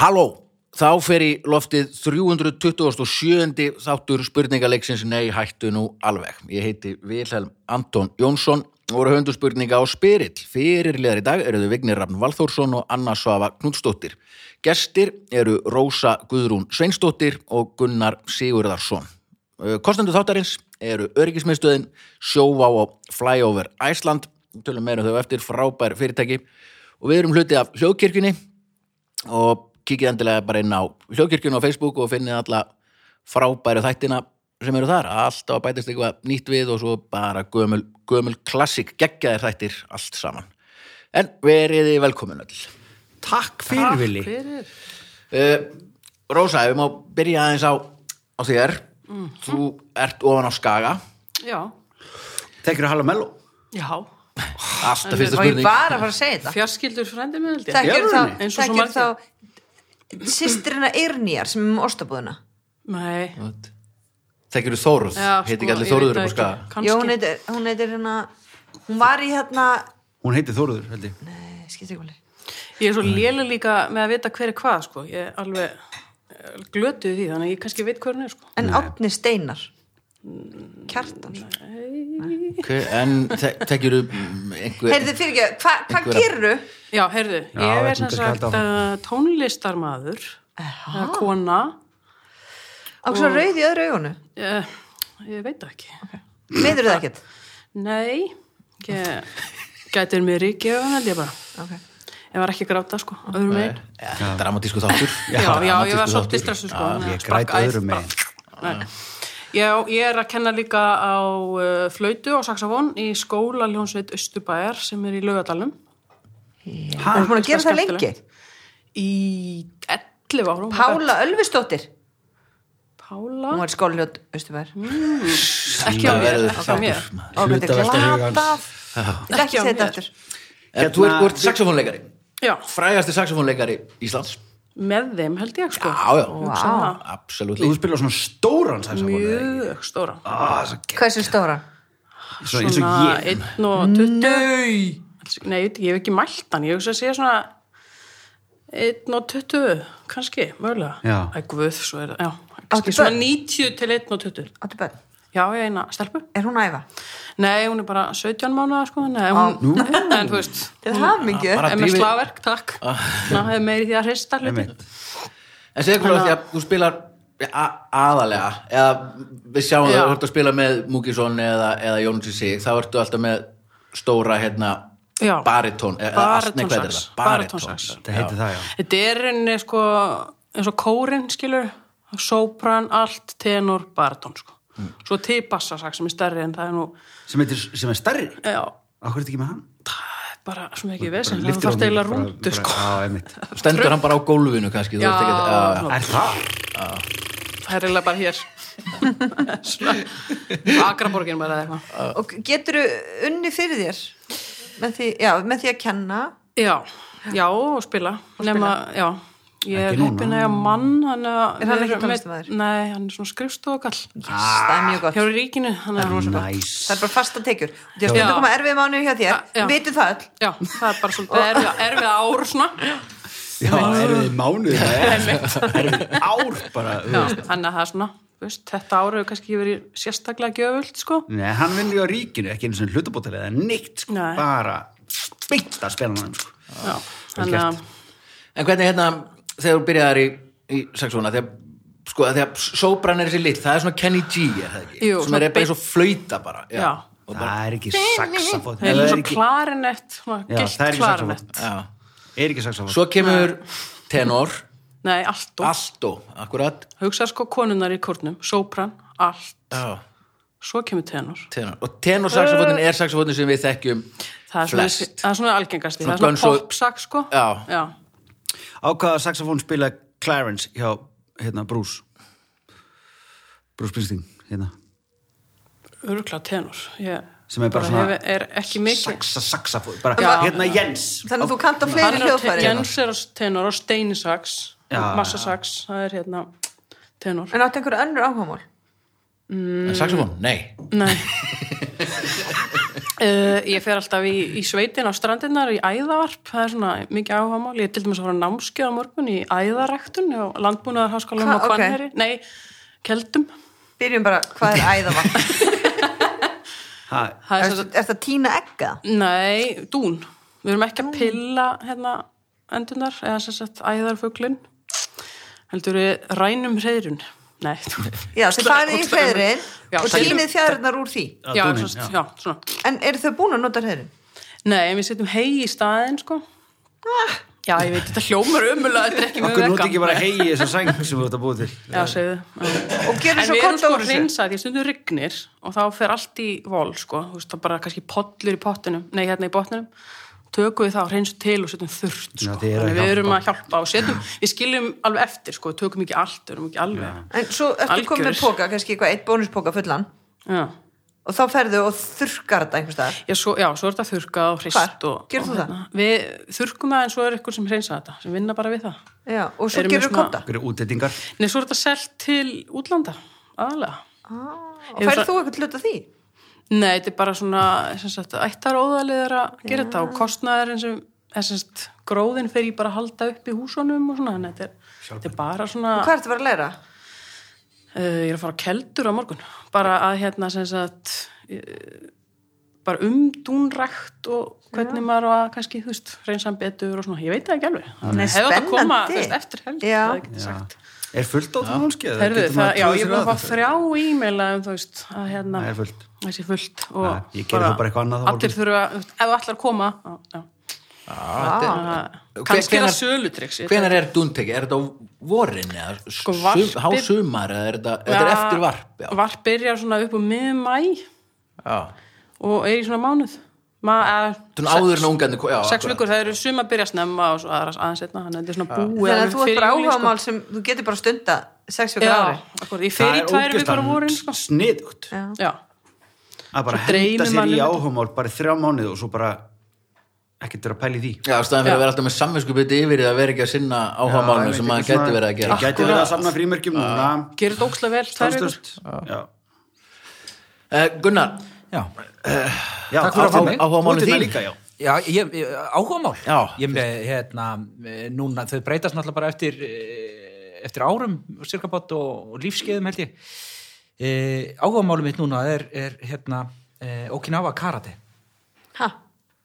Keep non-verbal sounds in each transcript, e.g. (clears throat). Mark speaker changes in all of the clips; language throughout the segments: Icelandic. Speaker 1: Halló, þá fer í loftið 327. þáttur spurningaleiksins Nei, hættu nú alveg. Ég heiti Vilhelm Anton Jónsson og voru höndu spurninga á Spyrill. Fyrirliðar í dag eru þau Vignir Rafn Valþórsson og Anna Svava Knútsdóttir. Gestir eru Rósa Guðrún Sveinsdóttir og Gunnar Sigurðarsson. Eh, Kostendur þáttarins eru öryggismiðstöðin, sjóvá og flyover Æsland, Við tölum meira um þau á eftir frábær fyrirtæki og við erum hluti af hljóðkirkjunni og kikið endilega bara inn á hljókirkjun og Facebook og finnið alla frábæru þættina sem eru þar alltaf að bætast eitthvað nýtt við og svo bara gömul, gömul klassik geggjaðir þættir allt saman en veriði velkomin öll
Speaker 2: Takk fyrir, Vili.
Speaker 1: uh, Rósa, ef við má byrja aðeins á, á þér
Speaker 3: Mhm.
Speaker 1: þú ert ofan á skaga
Speaker 3: Já,
Speaker 2: Tekir að hala melló.
Speaker 4: Já,
Speaker 1: alltaf fyrsta
Speaker 4: og ég
Speaker 1: spurning
Speaker 4: bara að fara að segja þetta
Speaker 3: fjarskildur frændi með held ég.
Speaker 4: Þekkir
Speaker 2: alvöru?
Speaker 4: þá,
Speaker 3: Eins og svo
Speaker 4: þekkir þá
Speaker 3: margir.
Speaker 4: sýstrina Eirnýjar sem er um ostabúðuna
Speaker 3: Nei.
Speaker 1: Þekkir þú Þóruð,
Speaker 3: Já,
Speaker 1: heiti
Speaker 3: sko,
Speaker 1: ekki allir
Speaker 3: ég
Speaker 1: Þóruður upp á
Speaker 3: veit það
Speaker 1: skaga
Speaker 3: ekki.
Speaker 4: Já, hún
Speaker 3: Kannski.
Speaker 4: heitir, hún heitir hérna hún var í hérna
Speaker 2: Hún heitir Þóruður, held ég.
Speaker 4: Nei, skiptir ekki máli.
Speaker 3: Ég er svo lélu líka með að vita hver er hvað, sko. Ég er alveg eh, glötuð því, þannig að ég kannski veit hver hún er, sko.
Speaker 4: en Átni Steinar Kjartan
Speaker 1: okay, en þekkir þú mm, einhver
Speaker 4: Heyrðu fyrir ekki, hvað hva
Speaker 1: Einhverja-
Speaker 4: gerðu?
Speaker 3: Já, heyrðu,
Speaker 2: Já, við ætlum
Speaker 3: ég er
Speaker 2: kannski
Speaker 3: sem
Speaker 2: að
Speaker 3: sagt
Speaker 2: halda
Speaker 3: uh, tónlistarmaður, uh, kona,
Speaker 4: Á hversu rauð í öðru augunu?
Speaker 3: uh, ég veit það ekki.
Speaker 4: Veitur það ekkert?
Speaker 3: Nei, ég gætir mér í gefun, held ég bara.
Speaker 4: Okay.
Speaker 3: Ég var ekki að gráta, sko, öðrum
Speaker 1: Nei,
Speaker 3: einn.
Speaker 1: ja, dramatísku Eh, þáttur
Speaker 3: Já, já, ég var
Speaker 1: dramatískur
Speaker 3: svo
Speaker 1: þáttur.
Speaker 3: distressuð, sko. þannig að
Speaker 2: Ég
Speaker 3: sprakk
Speaker 2: græt
Speaker 3: æð
Speaker 2: öðrum
Speaker 3: bara.
Speaker 2: megin.
Speaker 3: Nei. Já, ég er að kenna líka á uh, flautu og saxofón í skóla Ljónsveit Östurbæjar sem er í laugadalum
Speaker 4: Hún er búin að gera
Speaker 3: Ógeðslega
Speaker 4: það lengi
Speaker 3: skemmtilegt. í 11 ára hún var
Speaker 4: Pála Ölfustóttir
Speaker 3: Pála
Speaker 4: Hún var skóljótt, veistu hvað
Speaker 3: Hm?
Speaker 4: er
Speaker 3: ekki á
Speaker 1: Það
Speaker 3: mér,
Speaker 1: verður
Speaker 3: ekki á mér
Speaker 1: þáttur, maður.
Speaker 4: Og þetta
Speaker 2: Hlutavelta hugans.
Speaker 4: glatað Ég
Speaker 3: Ekki
Speaker 4: ætla
Speaker 3: á
Speaker 4: ekki að segja þetta
Speaker 3: mér.
Speaker 4: aftur
Speaker 1: En þú ert, þú ert saxofónleikari
Speaker 3: Já,
Speaker 1: frægasti saxofónleikari Íslands
Speaker 3: með þeim held ég sko
Speaker 1: Já, já,
Speaker 3: Hugsa það.
Speaker 1: absolutt
Speaker 2: Þú spilar svona stóran saxofón. eða ekki?
Speaker 3: Mjög stóra
Speaker 2: Ah, svo gegn-
Speaker 4: Hversu stóra?
Speaker 2: Svona eins og ég.
Speaker 3: 1 og 20 Nei Nei, ég veit- ég hef ekki mælt hann, ég hugsa að segja svona 1 og 20 kannski, mögulega
Speaker 2: Já.
Speaker 3: Æ, guð, svo er það, já
Speaker 4: Áttu
Speaker 3: kannski Svona
Speaker 4: börn?
Speaker 3: 90 til 1 og 20
Speaker 4: Áttu börn?
Speaker 3: Já, ég eina stelpu
Speaker 4: Er hún æfa?
Speaker 3: Nei, hún er bara 17 mánuða sko, nei, hún, (laughs) en þú veist
Speaker 4: Til hamingju.
Speaker 1: Bara
Speaker 3: En með
Speaker 1: drífi-
Speaker 3: slagverk, takk Ná, hefur meiri því að hrista hluti
Speaker 2: Einmitt.
Speaker 1: En segðu hvað því að þú spilar a- aðalega eða við sjáum
Speaker 3: Já.
Speaker 1: það að þú ert að spila með Múkisson eða, eða Jónsi Sig þá ertu alltaf með stóra hérna
Speaker 3: Já.
Speaker 1: baritón eða- eða astni, hvað er
Speaker 3: Baritónsax.
Speaker 1: það? Baritón
Speaker 3: Baritónsax.
Speaker 2: Það heitir það, já.
Speaker 3: Þetta er rauninni sko eins og kórin, skilur sópran, alt, tenor, baritón sko. Svo tipassasag sem er stærri en það er nú,
Speaker 2: Sem, heitir, sem er stærri.
Speaker 3: já,
Speaker 2: Akkur er þetta ekki með hann?
Speaker 3: bara svo mikið vesen, það
Speaker 2: Lyftir
Speaker 3: er það
Speaker 2: honum
Speaker 3: steila
Speaker 2: bara-
Speaker 3: rúndu
Speaker 2: bara-
Speaker 3: sko.
Speaker 2: Já, einmitt.
Speaker 1: Stendur hann bara á gólfinu kannski þú
Speaker 3: Já,
Speaker 1: ert ekkert- já, já.
Speaker 3: svona,
Speaker 2: Er það?
Speaker 3: það er eiginlega bara hér (laughs) Svona, Akraborgin bara eða eitthvað
Speaker 4: Og getur unni fyrir þér? Með því, já, með því að kenna
Speaker 3: Já, já, og spila nema, já, ég er
Speaker 2: Ekki núna.
Speaker 3: heppin að ég mann þannig að
Speaker 4: Er
Speaker 3: við
Speaker 4: hann
Speaker 3: erum
Speaker 4: ekki
Speaker 3: með-
Speaker 4: tónlistarmaður?
Speaker 3: Nei, hann er svona skrifstofakall
Speaker 4: Yes, það er mjög
Speaker 3: hjá
Speaker 4: gott
Speaker 3: ríkinu, hann
Speaker 2: Ah,
Speaker 3: er rosa gott
Speaker 2: Næs.
Speaker 4: Það er bara fasta tekjur Það er stundum
Speaker 3: Já.
Speaker 4: koma erfið mánu hjá þér
Speaker 3: Ah, Já.
Speaker 4: Við vitum það öll
Speaker 3: Já, það er bara svolítið (laughs) erfið, erfið ár svona.
Speaker 2: Já, eru þið mánuðið. Eru þið ár bara. þú
Speaker 3: Já,
Speaker 2: veist.
Speaker 3: þannig að það er svona, þú veist, þetta ár hefur kannski ekki verið sérstaklega gjöfult, sko.
Speaker 2: Nei, hann vinnur ju á ríkinu, ekki einu sem hlutabótilega eða neitt, sko.
Speaker 3: Nei.
Speaker 2: Bara byggt að spila hann, sko.
Speaker 3: Já, þannig að,
Speaker 1: En hvernig hérna, þegar þú byrjaðar í, í saxóna, þegar sko, að því að sóbran er þessi lit, það er svona Kenny G, er það ekki? Sem
Speaker 3: Jú,
Speaker 1: er
Speaker 3: svona
Speaker 1: bara eins og flauta bara.
Speaker 3: Já.
Speaker 1: Og bara,
Speaker 2: Það er ekki saxafón.
Speaker 3: það er svo klarinett, svona
Speaker 2: Já,
Speaker 3: gilt
Speaker 2: það er ekki
Speaker 3: klarinett.
Speaker 2: saxofón.
Speaker 1: já.
Speaker 2: Er ekki saxafón.
Speaker 1: Svo kemur tenor,
Speaker 3: Nei, allt og,
Speaker 1: alto, akkurat.
Speaker 3: hugsa sko konunnar í kórnum, sópran, allt,
Speaker 1: Já,
Speaker 3: svo kemur tenor.
Speaker 1: tenor. Og tenor saxofónin er saxofónin sem við þekkjum
Speaker 3: Það er
Speaker 1: flest.
Speaker 3: svona, það er svona algengast,
Speaker 1: Svona
Speaker 3: það er svona
Speaker 1: guns og-
Speaker 3: popsax, sko.
Speaker 1: Já.
Speaker 3: Já,
Speaker 2: Ákvaða saxofón spila Clarence hjá, hérna, Bruce. Bruce Springsteen, hérna.
Speaker 3: örgla tenor, ég...
Speaker 2: Sem er bara svona-
Speaker 3: hef- er ekki mikið.
Speaker 2: Saxa, saxafón. Bara,
Speaker 3: Já.
Speaker 2: hérna, Jens.
Speaker 4: Þannig að þú kanta fleiri
Speaker 3: Hann er á te-
Speaker 4: hljóðfæri
Speaker 3: Jens er á tenor og Steini sax,
Speaker 2: Já.
Speaker 3: massasax, það er hérna tenor.
Speaker 4: En áttu einhverju önnur áhugamál
Speaker 3: (laughs)
Speaker 1: En saxofón, nei.
Speaker 3: Nei, Uh, ég fer alltaf í, í sveitin á strandinnar í æðavarp, það er svona mikið áhagamál ég er til dæmis að fara á námskeið á morgun í æðaræktun á landbúnaðarháskólanum
Speaker 4: Hva-
Speaker 3: á
Speaker 4: ok.
Speaker 3: Hvannherri, nei, Keldum
Speaker 4: Byrjum bara, hvað er æðavarp?
Speaker 2: Ha,
Speaker 3: (laughs) það
Speaker 4: er
Speaker 3: er svo,
Speaker 4: þetta tína egga?
Speaker 3: nei, dún við erum ekki að pilla hérna endunar, eða sem sagt æðarfuglin heldur við rænum hreyrun nei
Speaker 4: Já, þið farið í hreðrin
Speaker 3: Já,
Speaker 4: og
Speaker 3: seljum-
Speaker 4: tínið fjæðurnar úr því.
Speaker 2: Já,
Speaker 3: já,
Speaker 2: dúninn,
Speaker 3: dúnin, já.
Speaker 2: já.
Speaker 3: já, svona
Speaker 4: En eru þau búin að nota hreðrin?
Speaker 3: Nei, en við setjum hei í staðin, sko.
Speaker 4: Ah.
Speaker 3: Já, ég veit, þetta hljómar umulega, þetta er ekki mjög
Speaker 2: okkur
Speaker 3: vegan.
Speaker 2: noti ekki bara hegi í þessa sæng sem við þetta
Speaker 3: (laughs)
Speaker 2: búið til
Speaker 3: Já, segðu. Já.
Speaker 4: Og gerir
Speaker 3: En
Speaker 4: svo
Speaker 3: við erum
Speaker 4: kort á
Speaker 3: sko
Speaker 4: þessu?
Speaker 3: reynsað, ég stundum rignir og þá fer allt í vol, sko. Þú veist, þá bara kannski pollur í pottinum, nei, hérna í botninum. Tökum við það og reynsum til og setjum þurrt, sko.
Speaker 2: Já, þið eru að
Speaker 3: við erum
Speaker 2: hjálpa.
Speaker 3: að hjálpa og setjum, við skiljum alveg eftir, sko. Við tökum ekki allt, við erum ekki alveg.
Speaker 4: En svo ertu komið með
Speaker 3: Algjör.
Speaker 4: póka, kannski eitthvað eitt bónuspoka fullan
Speaker 3: Já.
Speaker 4: og þá ferðu og þurrkar þetta einhvers staðar.
Speaker 3: Já, svo, já, svo er þetta þurrkað og hrist
Speaker 4: Hvar?
Speaker 3: og...
Speaker 4: Gerir þú
Speaker 3: og
Speaker 4: það?
Speaker 3: hérna. Við þurrkum það en svo er eitthvað sem hreinsa þetta, sem vinna bara við það.
Speaker 4: Já, og svo
Speaker 3: Erum við
Speaker 4: gerir
Speaker 3: svona-
Speaker 4: kotta.
Speaker 2: okkur er útlettingar
Speaker 3: Nei, svo er þetta selt til útlanda, aðalega.
Speaker 4: Og
Speaker 3: Hefur
Speaker 4: færðu
Speaker 3: það-
Speaker 4: þú eitthvað hlut af því?
Speaker 3: Nei, þetta er bara svona, sem sagt, ættaróðalið er að gera þetta og kostnaðurinn sem, eða sem sagt, gróðin fer ég bara að halda upp í húsunum og svona, þannig að þetta er, þetta er bara svona,
Speaker 4: Hvað ertu að vera að læra?
Speaker 3: uh, ég er að fara á keldur á morgun, bara að hérna, sem sagt, uh, bara umdúnrækt og hvernig maður á að kannski, þú veist, reynsan betur og svona, ég veit það ekki alveg.
Speaker 4: Nei,
Speaker 3: Hefði átt að koma,
Speaker 4: spennandi.
Speaker 3: þú veist, eftir helgi,
Speaker 4: Já.
Speaker 3: það er ekki sagt.
Speaker 2: er fullt á það námskeið
Speaker 3: Herðu,
Speaker 2: Getur maður
Speaker 3: það, já,
Speaker 2: troðið
Speaker 3: ég
Speaker 2: sér
Speaker 3: er búin
Speaker 2: að
Speaker 3: að fá
Speaker 2: þetta?
Speaker 3: þrjá e-maila um, þú veist, að hérna,
Speaker 2: Það er fullt.
Speaker 3: þessi fullt og
Speaker 2: Ja, ég geri þá bara eitthvað annað þá
Speaker 3: allir
Speaker 2: morgun.
Speaker 3: þurfa, ef þú ætlar að koma, á, já, Ah. að,
Speaker 1: Hve-
Speaker 3: kannski er það
Speaker 1: hvenær-
Speaker 3: sölutryggs.
Speaker 1: Hvenær er dúnteki? Er þetta á vorin eða
Speaker 3: Sko,
Speaker 1: sko,
Speaker 3: varpið-
Speaker 1: hásumar eða er þetta, þetta er eftir varp? Já.
Speaker 3: Varp byrjar svona upp um miðum mæ
Speaker 1: Já.
Speaker 3: og er í svona mánuð. Ma, að,
Speaker 1: Svona áður en ungarnir ko- já,
Speaker 3: Sex
Speaker 1: akkurat.
Speaker 3: vikur, það eru sum að byrja snemma og svo aðra aðeins einna, þannig að þetta er svona búið.
Speaker 4: Þannig
Speaker 3: alveg
Speaker 4: að þú ert
Speaker 3: fyrir
Speaker 4: bara
Speaker 3: júlí, sko.
Speaker 4: áhagamál sem þú getur bara stunda sex fyrir ári.
Speaker 3: Já, akkur,
Speaker 2: það
Speaker 3: ég fer í
Speaker 2: er
Speaker 3: tvær vikur á vorin,
Speaker 2: ógjöstan
Speaker 3: sko.
Speaker 2: sniðugt
Speaker 4: Já.
Speaker 3: Já,
Speaker 2: að bara
Speaker 3: Svo dreymir
Speaker 2: henda sér
Speaker 3: mann
Speaker 2: í
Speaker 3: um
Speaker 2: áhómál bara í þrjá mánuð og svo bara ekkert vera að pæla í því
Speaker 1: Já, staðan fyrir
Speaker 3: Já.
Speaker 1: að vera alltaf með samvinskupiti yfir því að vera ekki að sinna áhagamálunum sem maður gæti verið að gera.
Speaker 2: Ég gæti verið að samna frímerkjum núna
Speaker 3: gerir þetta ókslega vel, tvær vikur.
Speaker 2: stanslust já.
Speaker 1: Uh, Gunnar,
Speaker 5: Já,
Speaker 2: já,
Speaker 5: Takk fyrir að fá mig.
Speaker 1: Áhugamálin
Speaker 2: Útlitað
Speaker 1: þín.
Speaker 2: hérna líka, já.
Speaker 5: já ég, ég, áhugamál
Speaker 1: Já.
Speaker 5: ég með, hérna, eh, núna þau breytast náttúrulega bara eftir eh, eftir árum, sirkabátt og, og lífskeiðum held ég e, áhugamálum mitt núna er, er hérna, e, Okinawa Karate
Speaker 4: Hæ,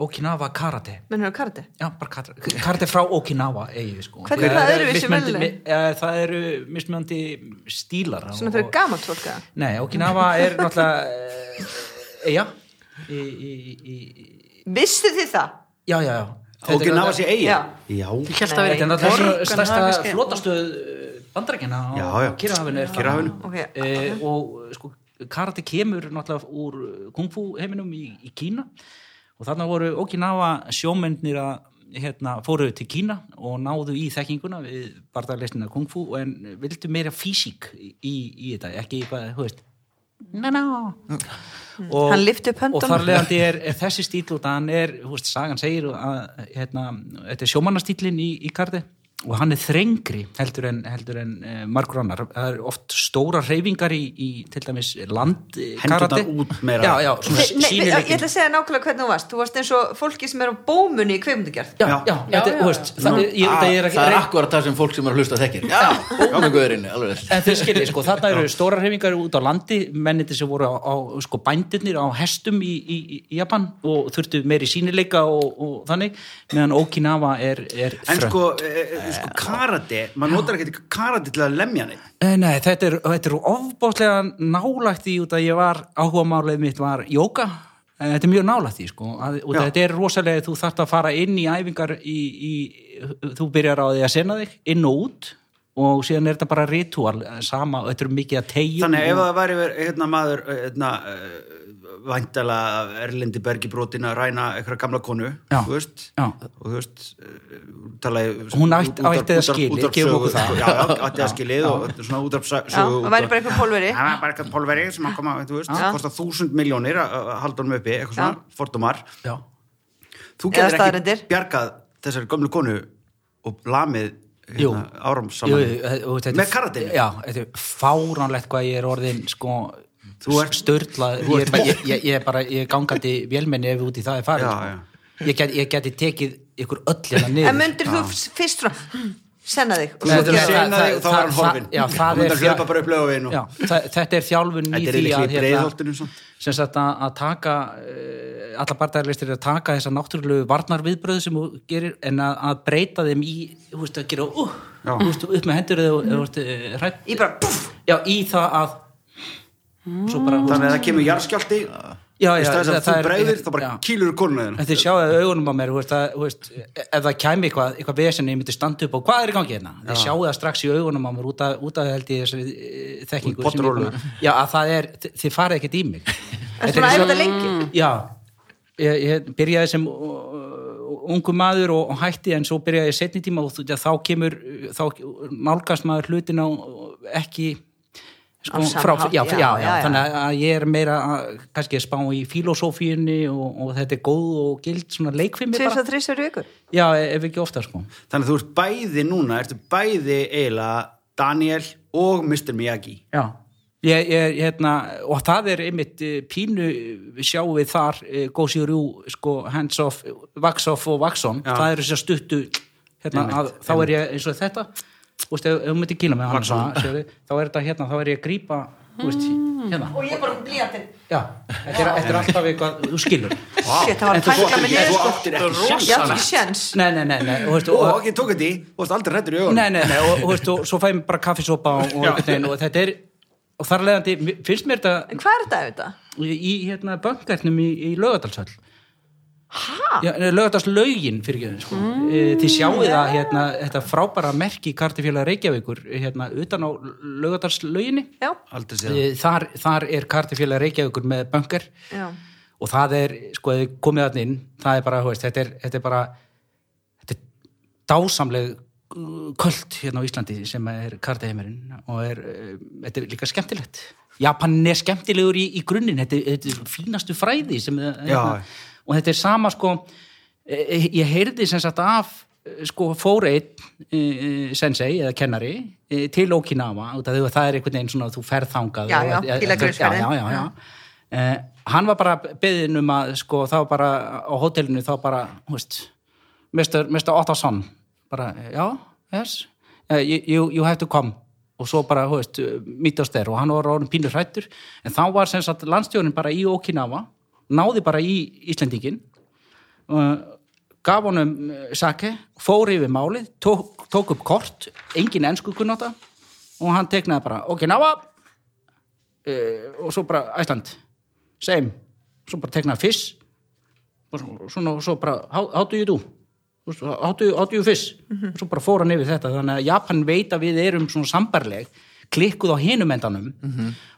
Speaker 5: Okinawa Karate
Speaker 4: mennur þú karate?
Speaker 5: Já, bara karate, karate frá Okinawa eigi, sko.
Speaker 4: Hvernig er það öðruvísi
Speaker 5: mismunandi-
Speaker 4: venjulega?
Speaker 5: mi- eh, Það eru mismöndi stílar
Speaker 4: Svona
Speaker 5: og-
Speaker 4: fyrir gamalt fólk eða?
Speaker 5: Nei, Okinawa er náttúrulega eða í, í, í, í,
Speaker 4: Vissu þið það?
Speaker 5: já, já, já Þetta er
Speaker 2: og gynna að sé eigi
Speaker 4: Já.
Speaker 2: já,
Speaker 3: Ég held að vera
Speaker 5: Þetta er
Speaker 3: í
Speaker 5: náttúrulega
Speaker 3: borg, en
Speaker 5: stærsta
Speaker 3: það er
Speaker 4: sko.
Speaker 3: kannski-
Speaker 5: flotastöð bandarækina á
Speaker 2: Já, já.
Speaker 5: Kyrrahafinu er það.
Speaker 2: Kyrrahafinu.
Speaker 4: Ok,
Speaker 5: Eh, og sko, karate kemur náttúrulega úr kung fu heiminum í, í Kína og þarna voru Okinawa sjómyndnir að hérna, fóru til Kína og náðu í þekkinguna við barðarleysnina kung fu en vildu meira físík í, í, í þetta, ekki eitthvað, þú veist no, no og,
Speaker 4: Hann lyfti upp höndunum.
Speaker 5: og þar leiðandi er, er þessi stíl og hann er, þú veist, sagan segir að hérna, þetta er sjómannastílin í, í karti og hann er þrengri heldur en, heldur en uh, margur annar það er oft stóra reyfingar í, í til dæmis
Speaker 2: Hendurnar
Speaker 5: landkarati
Speaker 2: út meira.
Speaker 5: já, já, svona
Speaker 4: Nei, nei, ég
Speaker 5: sínileikin
Speaker 4: ætla að segja nákvæmlega hvernig þú varst. Þú varst eins og fólki sem er á bómunni í kveimdugjart.
Speaker 5: já, já, þetta,
Speaker 3: Já,
Speaker 5: já,
Speaker 3: já,
Speaker 5: veist, það, ég, ég, það
Speaker 1: Ah,
Speaker 5: er ekki
Speaker 1: það er akkurat það sem fólk sem er að hlusta þekkir. Já, bómugurinn, alveg. rétt.
Speaker 5: en þið skiljið, sko, þarna eru stóra hreyfingar út á landi, menniti sem voru á, á sko, bændirnir á hestum í, í, í Japan og þurftu meiri sínileika og, og þannig, meðan Okinawa er, er
Speaker 2: en
Speaker 5: þröngt.
Speaker 2: sko, eh, eh, sko karate maður notar ekkert karate til að lemja neitt
Speaker 5: Eh, Nei, þetta er, þetta er ofbóðslega nálægt því út að ég var, áhugamálið mitt var jóka, Eh, þetta er mjög nálægt því, sko, að, út að
Speaker 2: Já.
Speaker 5: þetta er rosalega, þú þarft að fara inn í æfingar í, í, þú byrjar á því að sena þig, inn og út og síðan er þetta bara ritual, eh, sama, þetta er mikið að tegjum
Speaker 2: Þannig að ef það væri verið, hérna maður hérna, uh, væntala Erlendi Bergi brotin að ræna eitthvað gamla konu,
Speaker 5: Já.
Speaker 2: þú veist
Speaker 5: Já.
Speaker 2: og þú veist uh, talaði,
Speaker 5: Hún ætti- ætti það skilið, gefum okkur það.
Speaker 2: Já, já, ætti það skilið og svona útarpsögu
Speaker 4: Já, það væri bara eitthvað pólveri.
Speaker 2: Það var bara eitthvað pólveri sem að koma, þú veist,
Speaker 4: Já.
Speaker 2: kostar þúsund miljónir að að halda honum uppi, eitthvað svona, fordómar
Speaker 5: Já,
Speaker 2: Þú
Speaker 4: Eða
Speaker 2: getur ekki
Speaker 4: staðreyndir.
Speaker 2: bjargað þessari gömlu konu og lamið
Speaker 5: Jú.
Speaker 2: hérna, áram
Speaker 5: Jú,
Speaker 2: saman
Speaker 5: jú, og þetta er-
Speaker 2: með karatinu
Speaker 5: Já, þetta er fáránlegt hvað ég er orðin sko
Speaker 2: Þú ert-
Speaker 5: störla ég, er- ég, ég, ég er bara, ég er gangandi vélmenni ef út í það er farið
Speaker 2: Já,
Speaker 5: sko.
Speaker 2: já.
Speaker 5: Ég, get, ég geti tekið ykkur öll hérna
Speaker 4: En
Speaker 5: niður
Speaker 4: myndir þú f- fyrst frá senna þig og
Speaker 2: Nei,
Speaker 4: svo
Speaker 2: þetta er að
Speaker 4: gera-
Speaker 2: sena
Speaker 5: það-
Speaker 2: þig og þá var hann
Speaker 5: það-
Speaker 2: horfinn.
Speaker 5: já,
Speaker 2: Þú
Speaker 5: það er
Speaker 2: myndir
Speaker 5: fjár-
Speaker 2: hlaupa bara upp laugaveginn og-
Speaker 5: Já, það- þetta er þjálfun í
Speaker 2: Þetta er
Speaker 5: því
Speaker 2: líklega
Speaker 5: að hérna-
Speaker 2: í breiðholtinu samt.
Speaker 5: sem sagt að, að taka uh, alla barndaglistir að taka þessa náttúrulegu varnarviðbröð sem þú gerir en að, að breyta þeim í þú veist að gera uh,
Speaker 2: Já.
Speaker 5: þú veist, upp með hendur eða mm. uh, rætt
Speaker 4: Ég bara puff
Speaker 5: já, í það að svo bara,
Speaker 2: Þannig
Speaker 5: þú veist,
Speaker 2: að það kemur jarðskjálti
Speaker 5: Já,
Speaker 2: í
Speaker 5: já,
Speaker 2: stað þess
Speaker 5: það-
Speaker 2: að þú
Speaker 5: það er-
Speaker 2: bregðir, þá bara
Speaker 5: já.
Speaker 2: kýlur konuna þína
Speaker 5: þetta er sjáðið augunum á mér þú veist, að, þú veist, ef það kæmi eitthvað, eitthvað vesen ég myndi standa upp og hvað er í gangi hérna þið sjáðu það strax í augunum á mér út af, út af held ég þessari eh, þekkingu sem ég er búin að- já, að það er, þi- þið farið ekkert í mig
Speaker 4: En
Speaker 5: er
Speaker 4: svona
Speaker 5: eins
Speaker 4: æfa
Speaker 5: og-
Speaker 4: þetta lengi
Speaker 5: Já, ég, ég byrjaði sem uh, ungu maður og, og hætti en svo byrjaði ég setni tíma og þú- þá kemur, uh, þá nálgast maður hlutin á ekki
Speaker 4: Á
Speaker 5: sko,
Speaker 4: sama hátt, já,
Speaker 5: já, já, já,
Speaker 4: já, já.
Speaker 5: þannig að ég er meira að, kannski að spá í filosófíunni og, og þetta er góð og gild svona leikfimi
Speaker 4: Tvís
Speaker 5: bara,
Speaker 4: að þrísar viku
Speaker 5: já, ef ekki ofta sko
Speaker 2: Þannig að þú ert bæði núna, ertu bæði eiginlega Daniel og Mr. Miyagi
Speaker 5: Já, ég, ég, hérna, og það er einmitt eh, pínu eh, sjáum við þar, eh, Gosi Rjú, sko, hands off, eh, wax off og wax on,
Speaker 2: Já.
Speaker 5: það eru þess að stuttu, hérna, að, þá er ég eins og þetta, þú veist, ef ef þú myndir kýna með hann, svona, sérðu, þá er þetta hérna, þá er ég að grípa, þú veist, hérna,
Speaker 4: Og ég bara blíðatinn
Speaker 5: já, þetta er, þetta er alltaf eitthvað, þú skilur.
Speaker 4: Shit, það var að
Speaker 2: Þú
Speaker 4: tækka
Speaker 2: áttir-
Speaker 4: mig niður
Speaker 2: þú
Speaker 4: sko
Speaker 2: áttir ekki
Speaker 4: Ég
Speaker 2: sjans
Speaker 4: átti ekki sjens
Speaker 5: Nei, nei, nei, nei, þú veist,
Speaker 2: Og ekki tók þetta í, þú varst aldrei hrættur í augunum
Speaker 5: Nei, nei, nei, og, og, veist, og svo fæði mér bara kaffisopa og, og, einhvern veginn, og þetta er, og þar leðandi, finnst mér þetta
Speaker 4: En hvað er þetta auðvitað?
Speaker 5: í í, hérna bankarnum í, í lögadalshöll Já, lögadalslaugin fyrir ekki sko. mm. þið sjáuð að hérna, þetta frábæra merki kartifélag Reykjavíkur hérna utan á lögadalslauginni
Speaker 4: Já,
Speaker 2: Aldrei séð það.
Speaker 5: Eh, þar, þar er kartifélag Reykjavíkur með bankar
Speaker 4: já
Speaker 5: og það er, sko, ef þið komið þarna inn það er bara, þú veist, þetta er, þetta er bara þetta er dásamleg uh, köld hérna á Íslandi sem er kartaheimurinn og er, uh, þetta er líka skemmtilegt Japan er skemmtilegur í, í grunninn þetta, er- þetta er fínastu fræði sem, það-
Speaker 2: Já.
Speaker 5: og þetta er sama, sko eh, ég heyrði sem sagt af eh, sko fóreit uh, sensei eða kennari uh, til Okinawa út af því að það er einhvern veginn svona að þú ferð þangað
Speaker 4: Já,
Speaker 5: og-
Speaker 4: já,
Speaker 5: eh,
Speaker 4: pílagrímsferðin.
Speaker 5: já, já, já, já. Eh, hann var bara beðin um að sko, þá bara á hótelinu þá bara, hú veist Mr. Mr. Ottarsson bara, já, yes uh, you, you have to come og svo bara, hú veist, mítast þeir og hann var orðin pínur hrættur en þá var sem sagt landstjórnin bara í Okinawa náði bara í Íslendingin uh, gaf honum eh, sake, fór yfir málið tók, tók upp kort, engin ensku kunnota og hann teknaði bara Okinawa uh, og svo bara Æsland same, svo bara teknaði fish og svo- svona og svo bara how, how do you do Þú veist, how do you, how do you fish og svo bara fór hann yfir þetta þannig að Japan veit að við erum svona sambarleg klikkuð á hinum endanum